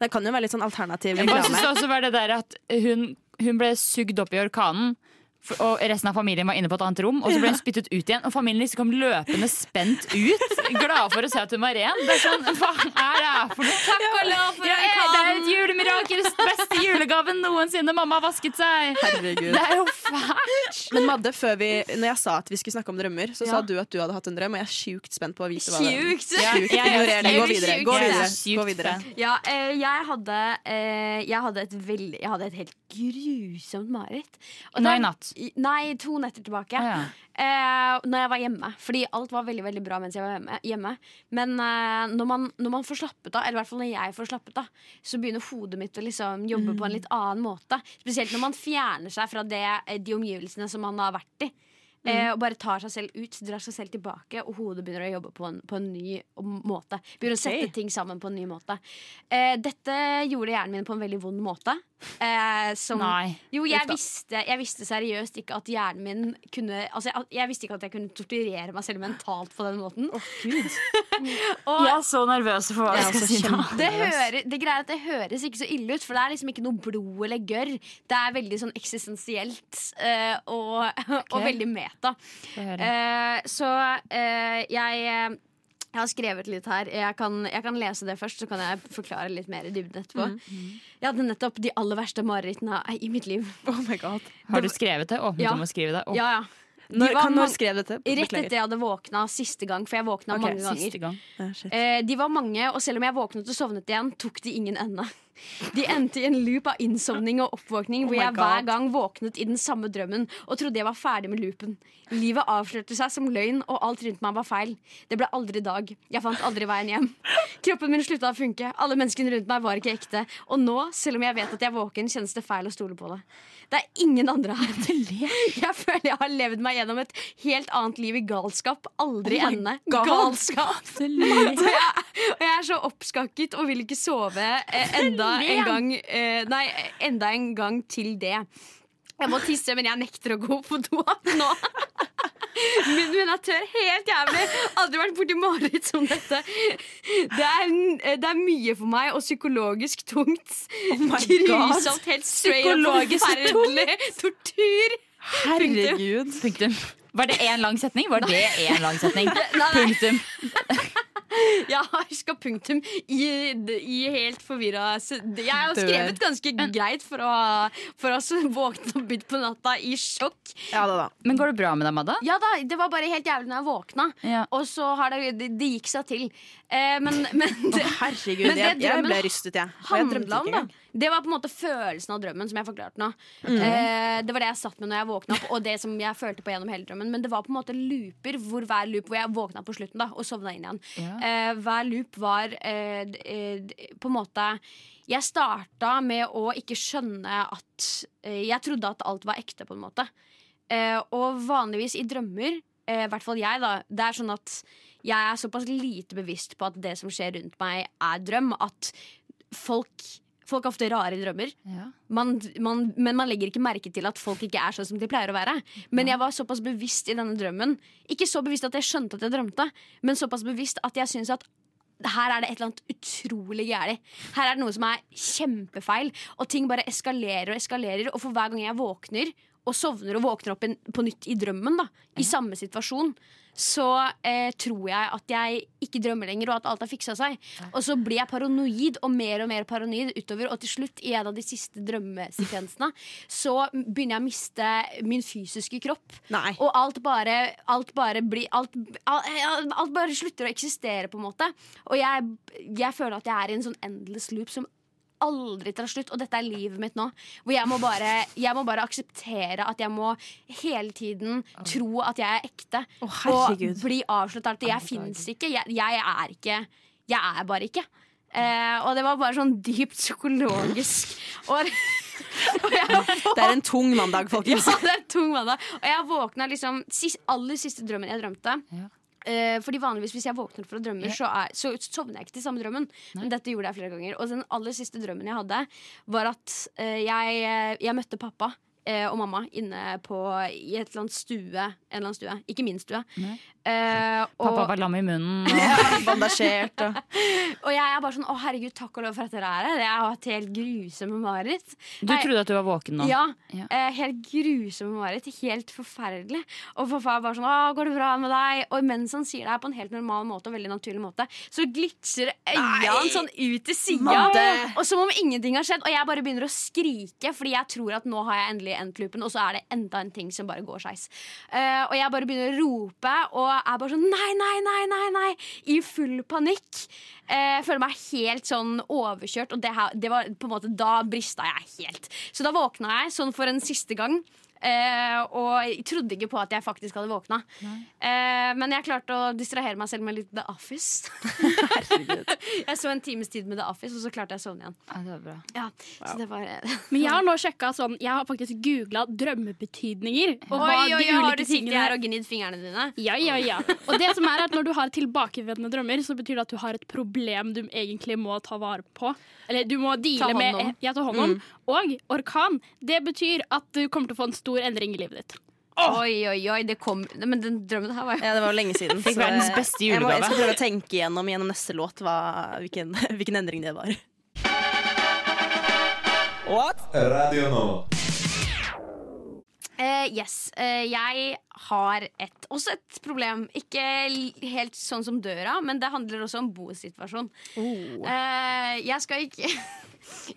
Det kan jo være litt sånn alternativ
Jeg synes det
reklame.
også var det der at hun, hun ble sugd opp i orkanen. for- Og resten av familien var inne på et annet rom, og så ble hun spyttet ut igjen. Og familien liksom kom løpende spent ut, glade for å se at hun var ren. Det er sånn, Hva er det her for noe? Takk og lov for Det er et julemirakel! Beste julegaven noensinne! Mamma har vasket seg!
Herregud.
Det er jo fælt!
Men Madde, før vi, når jeg sa at vi skulle snakke om drømmer, så
Ja.
sa du at du hadde hatt en drøm, og jeg er sjukt spent på å vite hva det er.
Sjukt!
Sjukt. Ignorer det. Gå videre. Gå
Jeg er
videre.
sykt
Gå videre.
fan.
Ja, eh, jeg hadde eh, Jeg hadde et veldig Jeg hadde et helt grusomt mareritt. Og
Nå
det-
i natt.
I- Nei, to netter
Å,
tilbake.
ja.
eh, når jeg var hjemme. Fordi alt var veldig veldig bra mens jeg var hjemme. hjemme. Men eh, når, man, når man får slappet av, eller i hvert fall når jeg får slappet av, så begynner hodet mitt å liksom jobbe på en litt annen måte. Spesielt når man fjerner seg fra det, eh, de omgivelsene som man har vært i. Eh, og bare tar seg selv ut, drar seg selv tilbake, og hodet begynner å jobbe på en, på en ny måte. Begynner å sette ting sammen på en ny måte. Eh, dette gjorde hjernen min på en veldig vond måte. Eh, som,
Nei.
jo, jeg
Uff da.
visste, jeg visste seriøst ikke at hjernen min kunne altså, jeg, jeg visste ikke at jeg kunne torturere meg selv mentalt på den måten. Og
Jeg er så nervøs for hva jeg skal si nå.
det, hører, det, greier at det høres ikke så ille ut, for det er liksom ikke noe blod eller gørr. Det er veldig sånn eksistensielt eh, og, og veldig meta. Eh, så eh, jeg eh, jeg har skrevet litt her. Jeg kan, jeg kan lese det først, så kan jeg forklare litt mer i dybden etterpå. Jeg hadde nettopp de aller verste marerittene i mitt liv.
Oh my god.
Har du skrevet det? Åpnet
Ja.
om å skrive det? Å,
Ja, ja. De
Når,
var
kan,
mang-
når skrev dette?
Rett etter jeg hadde våkna siste gang, for jeg våkna
Ok,
mange ganger.
Siste gang.
Ah, shit.
Eh, de var mange, og selv om jeg våknet og sovnet igjen, tok de ingen ende. De endte i en loop av innsovning og
Oh
oppvåkning, hvor jeg hver gang våknet i den samme drømmen og trodde jeg var ferdig med loopen. Livet avslørte seg som løgn, og alt rundt meg var feil. Det ble aldri dag. Jeg fant aldri veien hjem. Kroppen min slutta å funke, alle menneskene rundt meg var ikke ekte. Og nå, selv om jeg vet at jeg er våken, kjennes det feil å stole på det. Det er ingen andre her. Jeg føler jeg har levd meg gjennom et helt annet liv i galskap. Aldri ende. Galskap. Og jeg, og jeg er så oppskakket og vil ikke sove eh, enda en gang eh, Nei, enda en gang til det. Jeg må tisse, men jeg nekter å gå på do nå. Munnen min er tørr helt jævlig. Aldri vært borti mareritt som dette. Det er, det er mye for meg og psykologisk tungt.
Oh
Grusomt, helt straight og
Psykologisk
forferdelig. Tortur.
Herregud.
Punktum. Var det én lang setning? Var det én lang setning?
nei.
Punktum.
Jeg har huska punktum i, i helt forvirra se- Jeg har
Dør.
skrevet ganske greit for å, for å så våkne opp midt på natta i sjokk.
Ja da, da.
Men går det bra med deg, Madda?
Ja da, Det var bare helt jævlig når jeg våkna.
Ja.
Og så har det, det, det gikk seg til. Eh, men men det
Herregud,
Men det
jeg, jeg
drømmen
ble rystet, jeg. Og jeg drømte
handla om,
ikke
da.
engang.
Det var på en måte følelsen av drømmen som jeg forklarte nå. Eh, det var det jeg satt med når jeg våkna opp, og det som jeg følte på gjennom hele drømmen. Men det var på en måte looper hvor hver loop hvor jeg våkna på slutten da, og sovna inn igjen. Eh, hver loop var eh, d- eh, d- på en måte Jeg starta med å ikke skjønne at eh, Jeg trodde at alt var ekte, på en måte. Eh, og vanligvis i drømmer, eh, i hvert fall jeg, da, det er sånn at jeg er såpass lite bevisst på at det som skjer rundt meg, er drøm, at folk, folk er ofte rare i drømmer.
Ja.
Man, man, men man legger ikke merke til at folk ikke er sånn som de pleier å være. Men jeg var såpass bevisst i denne drømmen. Ikke så bevisst at jeg skjønte at jeg drømte, men såpass bevisst at jeg syns at her er det et eller annet utrolig gærent. Her er det noe som er kjempefeil. Og ting bare eskalerer og eskalerer. Og for hver gang jeg våkner og sovner og våkner opp en, på nytt i drømmen, da, i samme situasjon, så eh, tror jeg at jeg ikke drømmer lenger, og at alt har fiksa seg. Og så blir jeg paranoid og mer og mer paranoid utover, og til slutt, i en av de siste drømmesekvensene, så begynner jeg å miste min fysiske kropp.
Nei.
Og alt bare, alt bare blir alt, al- al- alt bare slutter å eksistere, på en måte. Og jeg, jeg føler at jeg er i en sånn endless loop som aldri tar slutt. Og dette er livet mitt nå. Hvor jeg må bare, jeg må bare akseptere at jeg må hele tiden tro at jeg er ekte. og
herregud.
bli avslørt. Alt. Jeg fins ikke. Jeg, jeg er ikke. Jeg er bare ikke. Eh, og det var bare sånn dypt psykologisk. Og
Det er en tung mandag, folkens.
ja, det er tung mandag. Og jeg våkna liksom sist, aller siste drømmen jeg drømte.
Ja.
Eh, fordi vanligvis Hvis jeg våkner fra drømmer, så, er, så sovner jeg ikke til samme drømmen. Men dette gjorde jeg flere ganger. Og den aller siste drømmen jeg hadde, var at eh, jeg, jeg møtte pappa. eh, Og mamma inne på, i et eller annet stue. En eller annen stue. Ikke min stue. Eh, og-
Pappa var lam i munnen.
Bandasjert og
og jeg er bare sånn Å, herregud, takk og lov for at dere er her. Jeg har hatt helt grusomme mareritt.
Du
Nei.
trodde at du var våken nå.
Ja,
Ja.
Eh, Helt grusomme mareritt. Helt forferdelig. Og pappa er bare sånn 'Å, går det bra med deg?' Og mens han sier det her på en helt normal måte, og veldig naturlig måte, så glitser øya hans sånn ut til sida.
Madde!
Og som om ingenting har skjedd. Og jeg bare begynner å skrike, fordi jeg tror at nå har jeg endelig endt loopen, og så er det enda en ting som bare går skeis. Eh, og jeg bare begynner å rope, og er bare sånn 'nei, nei, nei, nei', nei i full panikk. Eh, føler meg helt sånn overkjørt, og det, her, det var på en måte da brista jeg helt. Så da våkna jeg sånn for en siste gang. Eh, og jeg trodde ikke på at jeg faktisk hadde våkna. Eh, men jeg klarte å distrahere meg selv med litt The Office. jeg så en times tid med The Office, og så klarte jeg å sovne igjen.
Ja, det var bra.
Ja, Så det var
Men jeg har nå sjekket sånn Jeg har faktisk googla drømmebetydninger. Og hva
Oi, oi,
de
oi, har du
ulike
sittet
tingene
her og gnidd fingrene dine?
Ja, ja, ja. Og det som er at når du har tilbakevendende drømmer, så betyr det at du har et problem du egentlig må ta vare på. Eller du må deale
hånd
med
om.
ja, ta hånd om.
Mm.
Og orkan, det betyr at du kommer til å få en stor endring i livet ditt.
Oi, oi, oi, det kom Nei, Men den drømmen her var jo
Ja, det var jo lenge siden.
Fikk
så-
verdens beste
Jeg, må, jeg
julegave.
skal prøve å tenke gjennom gjennom neste låt hva, hvilken, hvilken endring det var.
Radio Nova.
Eh, yes. Eh, jeg har et, også et problem. Ikke l- helt sånn som døra, men det handler også om bosituasjon. Eh, jeg skal ikke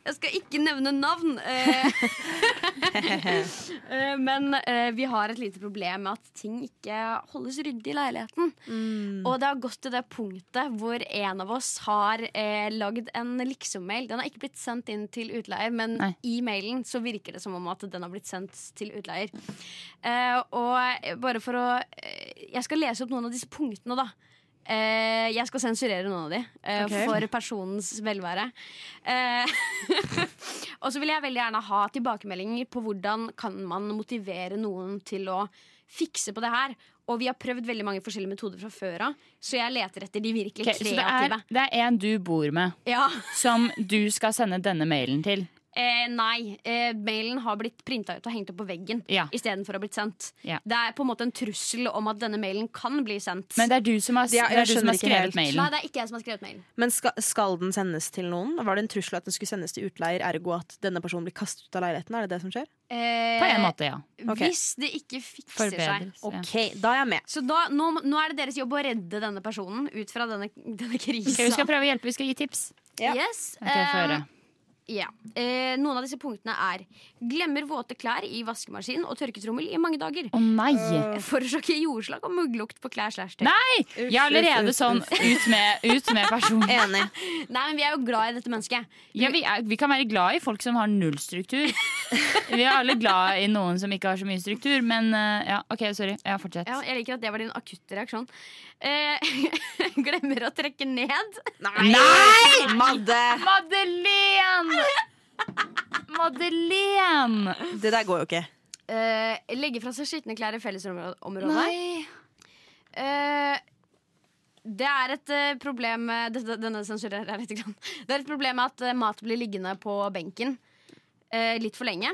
Jeg skal ikke nevne navn. Eh, eh, men eh, vi har et lite problem med at ting ikke holdes ryddig i leiligheten. Og det har gått til det punktet hvor en av oss har eh, lagd en liksom-mail. Den har ikke blitt sendt inn til utleier, men
Nei.
i mailen så virker det som om at den har blitt sendt til utleier. Eh, og bare for å eh, Jeg skal lese opp noen av disse punktene, da. Eh, jeg skal sensurere noen av de eh,
Ok.
for personens velvære. Eh, og så vil jeg veldig gjerne ha tilbakemeldinger på hvordan kan man motivere noen til å fikse på det her. Og vi har prøvd veldig mange forskjellige metoder fra før av, så jeg leter etter de virkelig
Ok, så det er,
kreative.
det er en du bor med,
Ja,
som du skal sende denne mailen til.
eh, Nei. Eh, mailen har blitt printa ut og hengt opp på veggen
Ja.
istedenfor å ha blitt sendt.
Ja.
Det er på en måte en trussel om at denne mailen kan bli sendt.
Men det er du som har, det
Ja, jeg
er du som
skjønner
har
ikke helt.
skrevet
Nei,
mailen.
det er ikke jeg som har skrevet mailen.
Men skal, skal den sendes til noen? Var det en trussel at den skulle sendes til utleier, ergo at denne personen blir kastet ut av leiligheten? Er det det som skjer?
Eh,
På en måte, ja.
Ok.
Hvis det ikke fikser seg.
Forbedres. Ja.
Ok, da er jeg med.
Så da, nå, nå er det deres jobb å redde denne personen ut fra denne, denne krisa.
Ok, vi skal prøve å hjelpe, vi skal gi tips.
Ja.
Yes,
Ok, få
eh,
høre.
ja. Eh, noen av disse punktene er Glemmer våte klær i vaskemaskin og tørketrommel i mange dager.
Å nei!
eh, Forårsaker jordslag og mugglukt på klær. slash tøy.
Nei! Jeg er allerede sånn ut med, ut med person.
Enig.
Nei, men vi er jo glad i dette mennesket.
Ja, vi, er, vi kan være glad i folk som har null struktur. Vi er alle glad i noen som ikke har så mye struktur, men eh, ja, OK, sorry. Ja, fortsett.
Ja, jeg liker at det var din akutte reaksjon. Eh, glemmer å trekke ned.
Nei! Madde!
Madeleine! Madeleine!
Det der går jo ikke.
Eh, Eh, legge fra seg skitne klær i fellesområdet.
Nei.
Eh, det er et eh, problem eh, dette, Denne sensurerer jeg litt. Grann. Det er et problem at eh, mat blir liggende på benken eh, litt for lenge.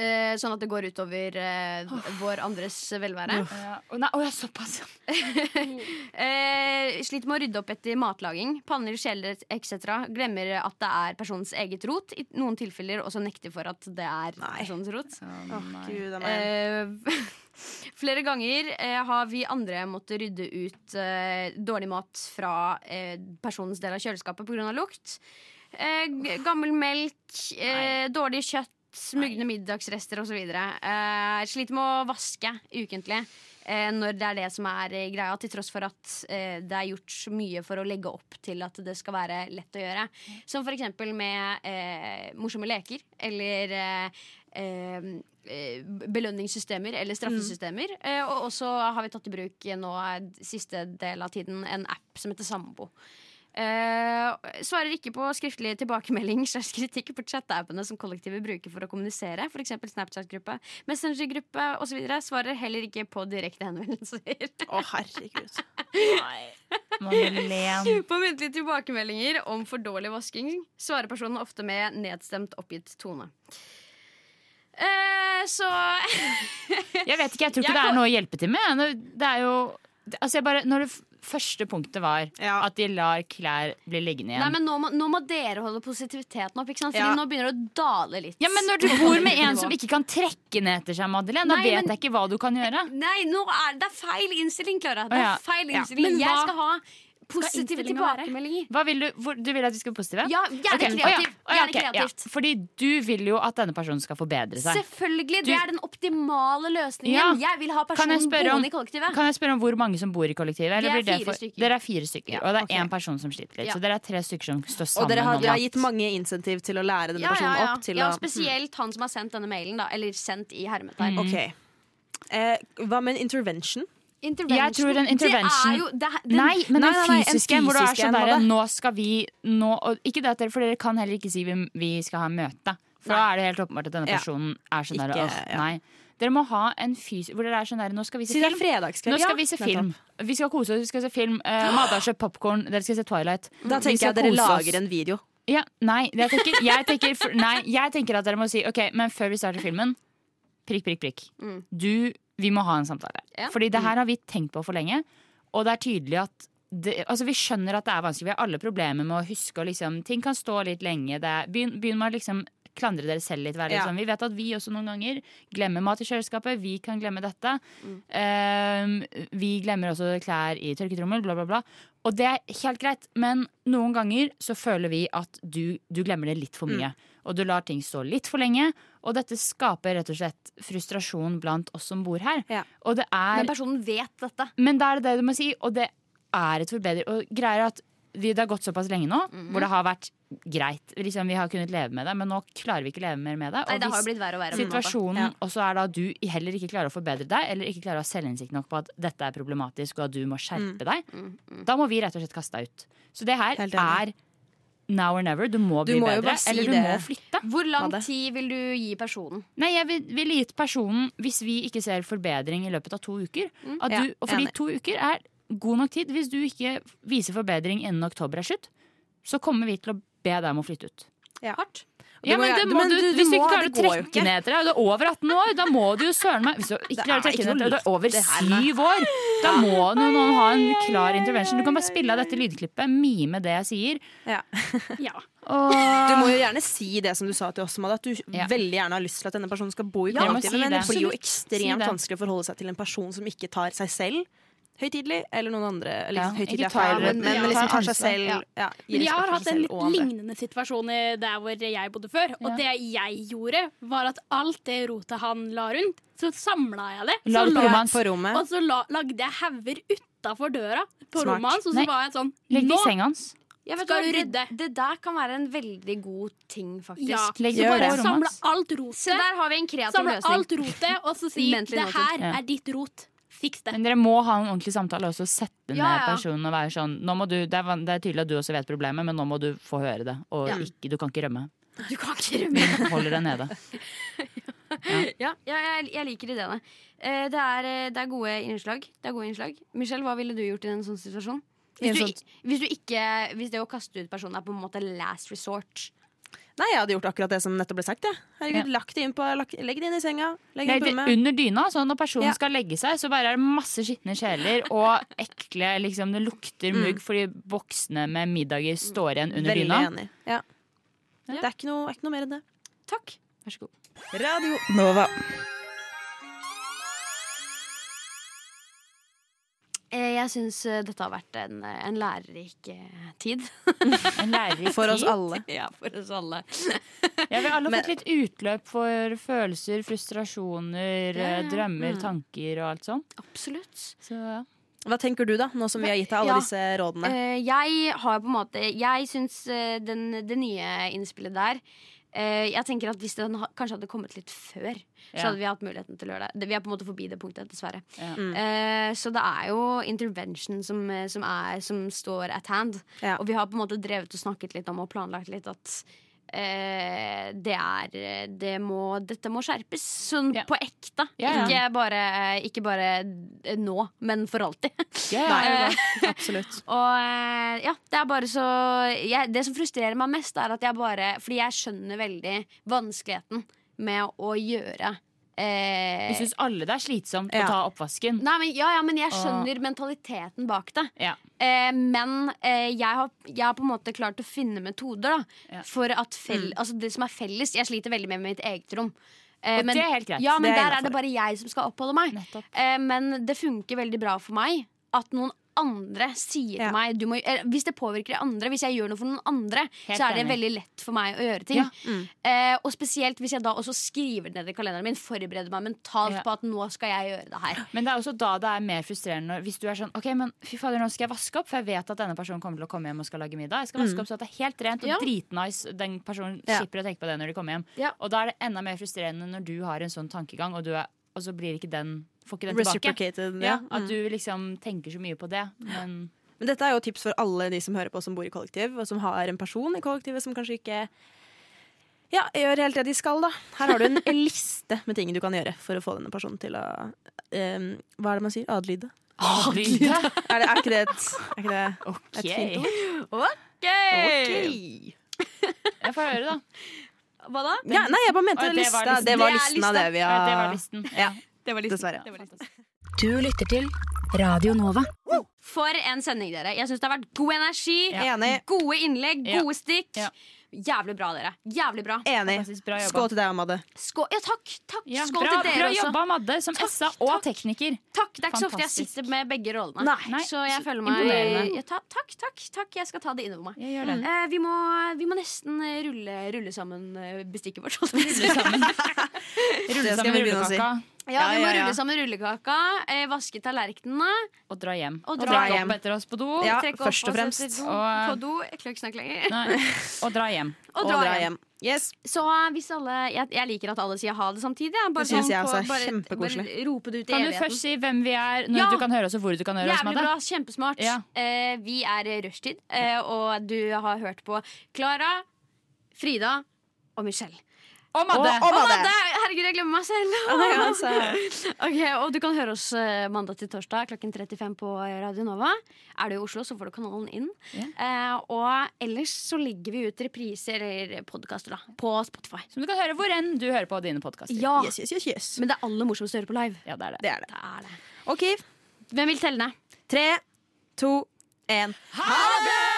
Eh, sånn at det går utover eh, vår andres velvære.
Ja. Å, nei, å, ja, såpass.
Eh, sliter med å rydde opp etter matlaging. Panner, kjeler etc. Glemmer at det er personens eget rot. I noen tilfeller også nekter for at det er personens rot.
Åh, Gud, det er meg.
Eh, flere ganger eh, har vi andre måttet rydde ut eh, dårlig mat fra eh, personens del av kjøleskapet pga. lukt. Eh, g- gammel melk, eh, dårlig kjøtt, smugne middagsrester osv. Eh, sliter med å vaske ukentlig. Eh, når det er det som er eh, greia, til tross for at eh, det er gjort så mye for å legge opp til at det skal være lett å gjøre. Som f.eks. med eh, morsomme leker eller eh, eh, eh, belønningssystemer eller straffesystemer. Eh, og også har vi tatt i bruk eh, nå eh, siste del av tiden en app som heter Sambo. Eh, svarer ikke på skriftlig tilbakemelding slags kritikk på chat-appene som kollektivet bruker for å kommunisere, f.eks. Snapchat-gruppe, Messenger-gruppe osv. Svarer heller ikke på direkte henvendelser.
Å, herregud.
Madeleine.
På muntlige tilbakemeldinger om for dårlig vasking svarer personen ofte med nedstemt, oppgitt tone. Eh, så
Jeg vet ikke, jeg tror ikke
Jeg
det
kan-
er noe å hjelpe til med. Nå- Det er jo det- Altså, jeg bare Når det f- første punktet var
Ja.
at de lar klær bli liggende igjen
Nei, men nå må, nå må dere holde positiviteten opp, ikke sant? Fordi
Ja.
nå begynner det å dale litt.
Ja, men når du bor med en som ikke kan trekke ned etter seg, Madeleine, da
Nei,
vet
men-
jeg ikke hva du kan gjøre.
Nei, nå er det er feil innstilling, Klara. Det
Å,
er
ja.
feil
Ja.
innstilling.
Men hva-
Jeg skal ha positive
innstillingen være?
tilbakemeldinger.
Hva vil du, hvor, du vil at vi skal være positive?
Ja, gjerne
Ok, å
kreativ.
ja, å ja,
Gjerne
ok, ja.
kreativt.
Fordi du vil jo at denne personen skal forbedre seg.
Selvfølgelig.
Du-
Det er den optimale løsningen.
Ja.
Jeg vil ha
Kan jeg
personen
spørre om-
boende i kollektivet.
Kan jeg spørre om hvor mange som bor i kollektivet?
Vi er
blir
fire stykker.
Dere er fire stykker, og det er
ok.
én person som sliter litt.
Ja.
Så dere er tre stykker som står
Og
sammen.
dere har,
om
dere har
alt.
gitt mange insentiv til å lære denne
Ja, ja,
personen
ja.
opp til
ja,
å
spesielt han som har sendt denne mailen, da. Eller sendt i
Mm.
hermetegn.
Ok. Eh, hva med en intervention?
Intervention.
Jeg tror en intervention-
Det er jo, det, er- den,
Nei, men den
Nei, nei, nei, en
fysiske, hvor du er
fysisk en
sånn
av
der
det.
Nå skal vi nå, og Ikke det at dere, for dere kan heller ikke si vi, vi skal ha møte. For da er det helt åpenbart at denne
Ja.
personen er sånn der
Ikke-
åh,
ja.
nei. Dere må ha en fysisk Hvor dere er sånn der Nå skal vi se
Si det er
film.
fredagskveld.
Nå skal
Ja,
vi se
nettopp.
film. Vi skal kose oss. Vi skal se film. Uh, Madde har kjøpt popkorn. Dere skal se Twilight.
Da
Mm. Vi
tenker jeg
skal
at dere
kose oss.
lager en video.
ja, nei, jeg tenker, jeg, tenker, for- nei, jeg tenker at dere må si OK, men før vi starter filmen Prikk, prikk, prikk.
Mm.
Du, vi må ha en samtale.
Ja. Mm.
Fordi det her har vi tenkt på for lenge, og det er tydelig at det, altså Vi skjønner at det er vanskelig. Vi har alle problemer med å huske. Og liksom, ting kan stå litt lenge. Det er, begynn, begynn med å liksom klandre dere selv litt. Være, litt
Ja.
sånn, Vi vet at vi også noen ganger glemmer mat i kjøleskapet. Vi kan glemme dette.
Mm.
Eh, vi glemmer også klær i tørketrommel, bla, bla, bla. Og det er helt greit, men noen ganger så føler vi at du, du glemmer det litt for
Mm.
mye. Og du lar ting stå litt for lenge, og dette skaper rett og slett frustrasjon blant oss som bor her.
Ja.
Og det er
Men personen vet dette.
men det er det du må si, og det er et forbedring. Og greier at vi, det har gått såpass lenge nå,
Mhm.
hvor det har vært greit. Liksom, vi har kunnet leve med det, men nå klarer vi ikke leve mer med det.
Nei,
Og
det har jo
hvis
blitt verre og verre. med maten.
situasjonen også er da du heller ikke klarer å forbedre deg, eller ikke klarer å ha selvinnsikt nok på at dette er problematisk, og at du må skjerpe deg, da må vi rett og slett kaste deg ut. Så det her
Mm. Helt
er
enig.
now or never. Du må
Du
bli
må jo
bedre,
bare si
eller du
det.
må flytte.
Hvor lang
Madde.
tid vil du gi personen?
Nei, jeg vil- ville gitt personen, hvis vi ikke ser forbedring i løpet av to uker at
Mm. Ja,
du, Og fordi
enig.
to uker er god nok tid. Hvis du ikke viser forbedring innen oktober er slutt, så kommer vi til å be deg om å flytte ut.
Ja. Hardt.
Ja, men det må du, Hvis du ikke klarer å trekke ned etter deg, og du er over 18 år, da må du jo søren meg Hvis du ikke klarer å
er
trekke
ikke
ned
noe
etter deg, du er over
likt det her, nei.
syv år, da må jo noen ha en klar intervention. Du kan bare spille av dette lydklippet, mime det jeg sier.
Ja.
Ja.
Og
Du må jo gjerne si det som du sa til oss, Madde, at du
Ja.
veldig gjerne har lyst til at denne personen skal bo i
Ja,
kollektivet.
si
men
det.
det blir jo
Absolutt. Si
ekstremt
det.
vanskelig å forholde seg til en person som ikke tar seg selv høytidelig, eller noen andre. Eller liksom
Ja,
høytidelig
ikke
er feil,
tar-
men, men,
ja,
tar
liksom tar
ansvar.
seg selv
Ja.
ja.
Men
gir
jeg
respekt
har
for
hatt
seg
en
selv
litt
og andre.
lignende situasjon i- der hvor jeg bodde før. Og det jeg gjorde, var at alt det rotet han la rundt, så samla jeg det.
La
Så
det på
la,
rommet hans.
På rommet.
og så la, lagde jeg hauger utafor døra på
Smart.
rommet hans, og
Nei.
så var jeg sånn
legg det
Nå
i senga hans.
Jeg vet
Skal
hva,
du
det-
rydde?
Det der kan være en veldig god ting, faktisk.
ja,
Legg
så
det på
bare
rommet
samle
hans.
alt
Så
rotet.
der har vi en kreativ
Samle
løsning.
alt rotet, og så si
Ventelig
det
noe sånt.
her
Ja.
er ditt rot. Fiks det.
Men dere må ha en ordentlig samtale også, sette ned
Ja, ja.
personen og være sånn nå må du, det, er, van- det er tydelig at du også vet problemet, men nå må du få høre det. Og
Ja.
ikke, du kan ikke rømme.
Du kan ikke rømme.
Vi holder deg nede.
Ja, ja jeg, jeg liker ideene. Eh, det, er, eh, det, er gode innslag. det er gode innslag. Michelle, hva ville du gjort i en sånn situasjon? Hvis, du,
I en
ik- hvis, du ikke, hvis det å kaste ut personen er på en måte last resort.
Nei, jeg hadde gjort akkurat det som nettopp ble sagt. Jeg. Herregud, lagt det inn på, lagt, Legg det inn i senga. Legg
Nei,
det
det,
inn på rommet.
under dyna, så når personen
Ja.
skal legge seg, så bare er det masse skitne sjeler og ekle liksom, Det
Mm.
lukter mugg fordi boksene med middager står igjen under
Veldig
dyna.
enig. Ja. Det er ikke noe, er ikke noe mer enn det.
Takk.
Vær så god.
Radio Nova.
Eh, jeg syns eh, dette har vært en, eh, en lærerik eh, tid.
En lærerik
For oss
tid.
alle.
Ja, for oss alle.
Ja, vi har alle
Men-
fått litt utløp for følelser, frustrasjoner,
Ja, ja,
eh,
ja.
drømmer,
Mm.
tanker og alt sånt.
Absolutt.
Så ja.
Hva tenker du, da, nå som vi har gitt deg alle
Ja.
disse rådene?
Eh, jeg har på en måte Jeg syns eh, den, det nye innspillet der eh, Jeg tenker at Hvis den ha, kanskje hadde kommet litt før, så
Ja.
hadde vi hatt muligheten til å gjøre det. det. Vi er på en måte forbi det punktet, dessverre.
Ja.
Eh, så det er jo intervention som, eh, som, er, som står at hand.
Ja.
Og vi har på en måte drevet og snakket litt om og planlagt litt at eh, det er det må, Dette må skjerpes sånn
Ja.
på ekte.
Ja, ja.
Ikke, bare, ikke bare eh, nå, men for alltid.
Ja, ja.
Eh,
Absolutt.
og eh, ja, det er bare så jeg, Det som frustrerer meg mest, er at jeg bare Fordi jeg skjønner veldig vanskeligheten med å gjøre eh,
Vi syns alle det er slitsomt
Ja.
å ta oppvasken.
Nei, men, ja, ja, men jeg skjønner mentaliteten bak det.
Ja.
Eh, men eh, jeg, har, jeg har på en måte klart å finne metoder da,
Ja. Mm.
for at fell, altså det som er felles Jeg sliter veldig med mitt eget rom. Eh,
Og det er helt greit.
Ja, men
Det er
Der er
innenfor.
det bare jeg som skal oppholde meg.
Nettopp.
Eh, men det funker veldig bra for meg at noen andre sier
Ja.
til meg du må, eh, Hvis det påvirker de andre, hvis jeg gjør noe for noen andre,
Helt
så er det
enig.
veldig lett for meg å gjøre ting.
Ja.
Eh, og spesielt hvis jeg da også skriver det ned i kalenderen min, forbereder meg mentalt
Ja.
på at nå skal jeg gjøre det her.
Men det er også da det er mer frustrerende når- hvis du er sånn Ok, men fy fader, nå skal jeg vaske opp, for jeg vet at denne personen kommer til å komme hjem og skal lage middag. Jeg skal vaske opp så at det er helt rent og
Ja.
dritnice. Den personen
Mm. Ja.
slipper å tenke på det når de kommer hjem.
Ja.
Og da er det enda mer frustrerende når du har en sånn tankegang, og, du er, og så blir ikke den Får ikke den tilbake.
Reciprocated.
Ja,
Ja. Mm.
at du liksom tenker så mye på det. Men
Men dette er jo tips for alle de som hører på som bor i kollektiv, og som har en person i kollektivet som kanskje ikke ja, gjør helt det de skal, da. Her har du en liste med ting du kan gjøre for å få denne personen til å eh, Hva er det man sier? Adlyde?
Adlyde.
Er, det, er ikke det et, er ikke det et fint ord?
Jeg får høre, da.
Hva da?
Ja, nei, jeg bare mente
Å, det var
lista.
listen.
Det var
Det er
listen
lista.
av det vi
Ja,
har
Det var listen.
Ja, dessverre.
Du lytter til Radio Nova.
For en sending, dere. Jeg syns det har vært god energi.
Ja. Enig.
Gode innlegg,
Ja.
gode stikk.
Ja.
Jævlig bra, dere. Jævlig bra.
Enig.
Fantastisk bra jobba.
Skål til deg, Amade.
Skål, ja, takk, takk.
Ja,
Skål
bra,
til dere
bra
også.
jobba, Madde, som SA og tekniker.
Takk, Det er ikke så ofte jeg
Fantastisk.
sitter med begge rollene.
Nei. Nei,
Så jeg
så
føler meg
imponerende.
ja, ta, Takk, takk, takk. Jeg skal ta det innover meg.
Jeg gjør det.
Mm.
Eh, vi, må, vi må nesten eh, rulle, rulle sammen eh, bestikket vårt. holdt jeg på å si.
Rulle sammen. Rulle
Det skal
sammen
vi begynne å si.
rullekaka
Ja, Vi
ja,
må
ja.
rulle sammen rullekaka, eh, vaske tallerkenene.
og dra hjem.
Og
Og
dra
dra
hjem.
opp etter oss på do.
Ja,
trekke opp
først og
oss
fremst.
etter do-
Og-
På do. Jeg klarer ikke snakke lenger.
Nei. Og dra hjem.
Og dra hjem.
Yes.
Så eh, hvis alle, jeg, jeg liker at alle sier ha det samtidig. jeg. Bare
Det synes
sånn
jeg
på-
også er
bare-
kjempekoselig.
Bare rope det ut i
Kan du
evigheten.
først si hvem vi er, når
Ja!
du kan høre oss og hvor du kan høre oss?
Jævlig
Madde?
bra, kjempesmart.
Ja.
Eh, vi er Rushtid, eh, og du har hørt på Klara, Frida og Michelle.
Og Madde!
Og- og- Madde.
Å, Herregud, jeg glemmer meg selv! Ok, og Du kan høre oss eh, mandag til torsdag klokken 35 på Radio Nova. Er du i Oslo, så får du kanalen inn. Eh, og ellers så legger vi ut repriser eller podkaster da, på Spotify.
Som du kan høre hvor enn du hører på dine podkaster.
Ja,
Yes, yes, yes, yes.
Men det er aller morsomst å høre på live.
Ja, det er det.
Det er det.
Det er det.
OK.
Hvem vil telle ned?
Tre, to, én.
Ha det!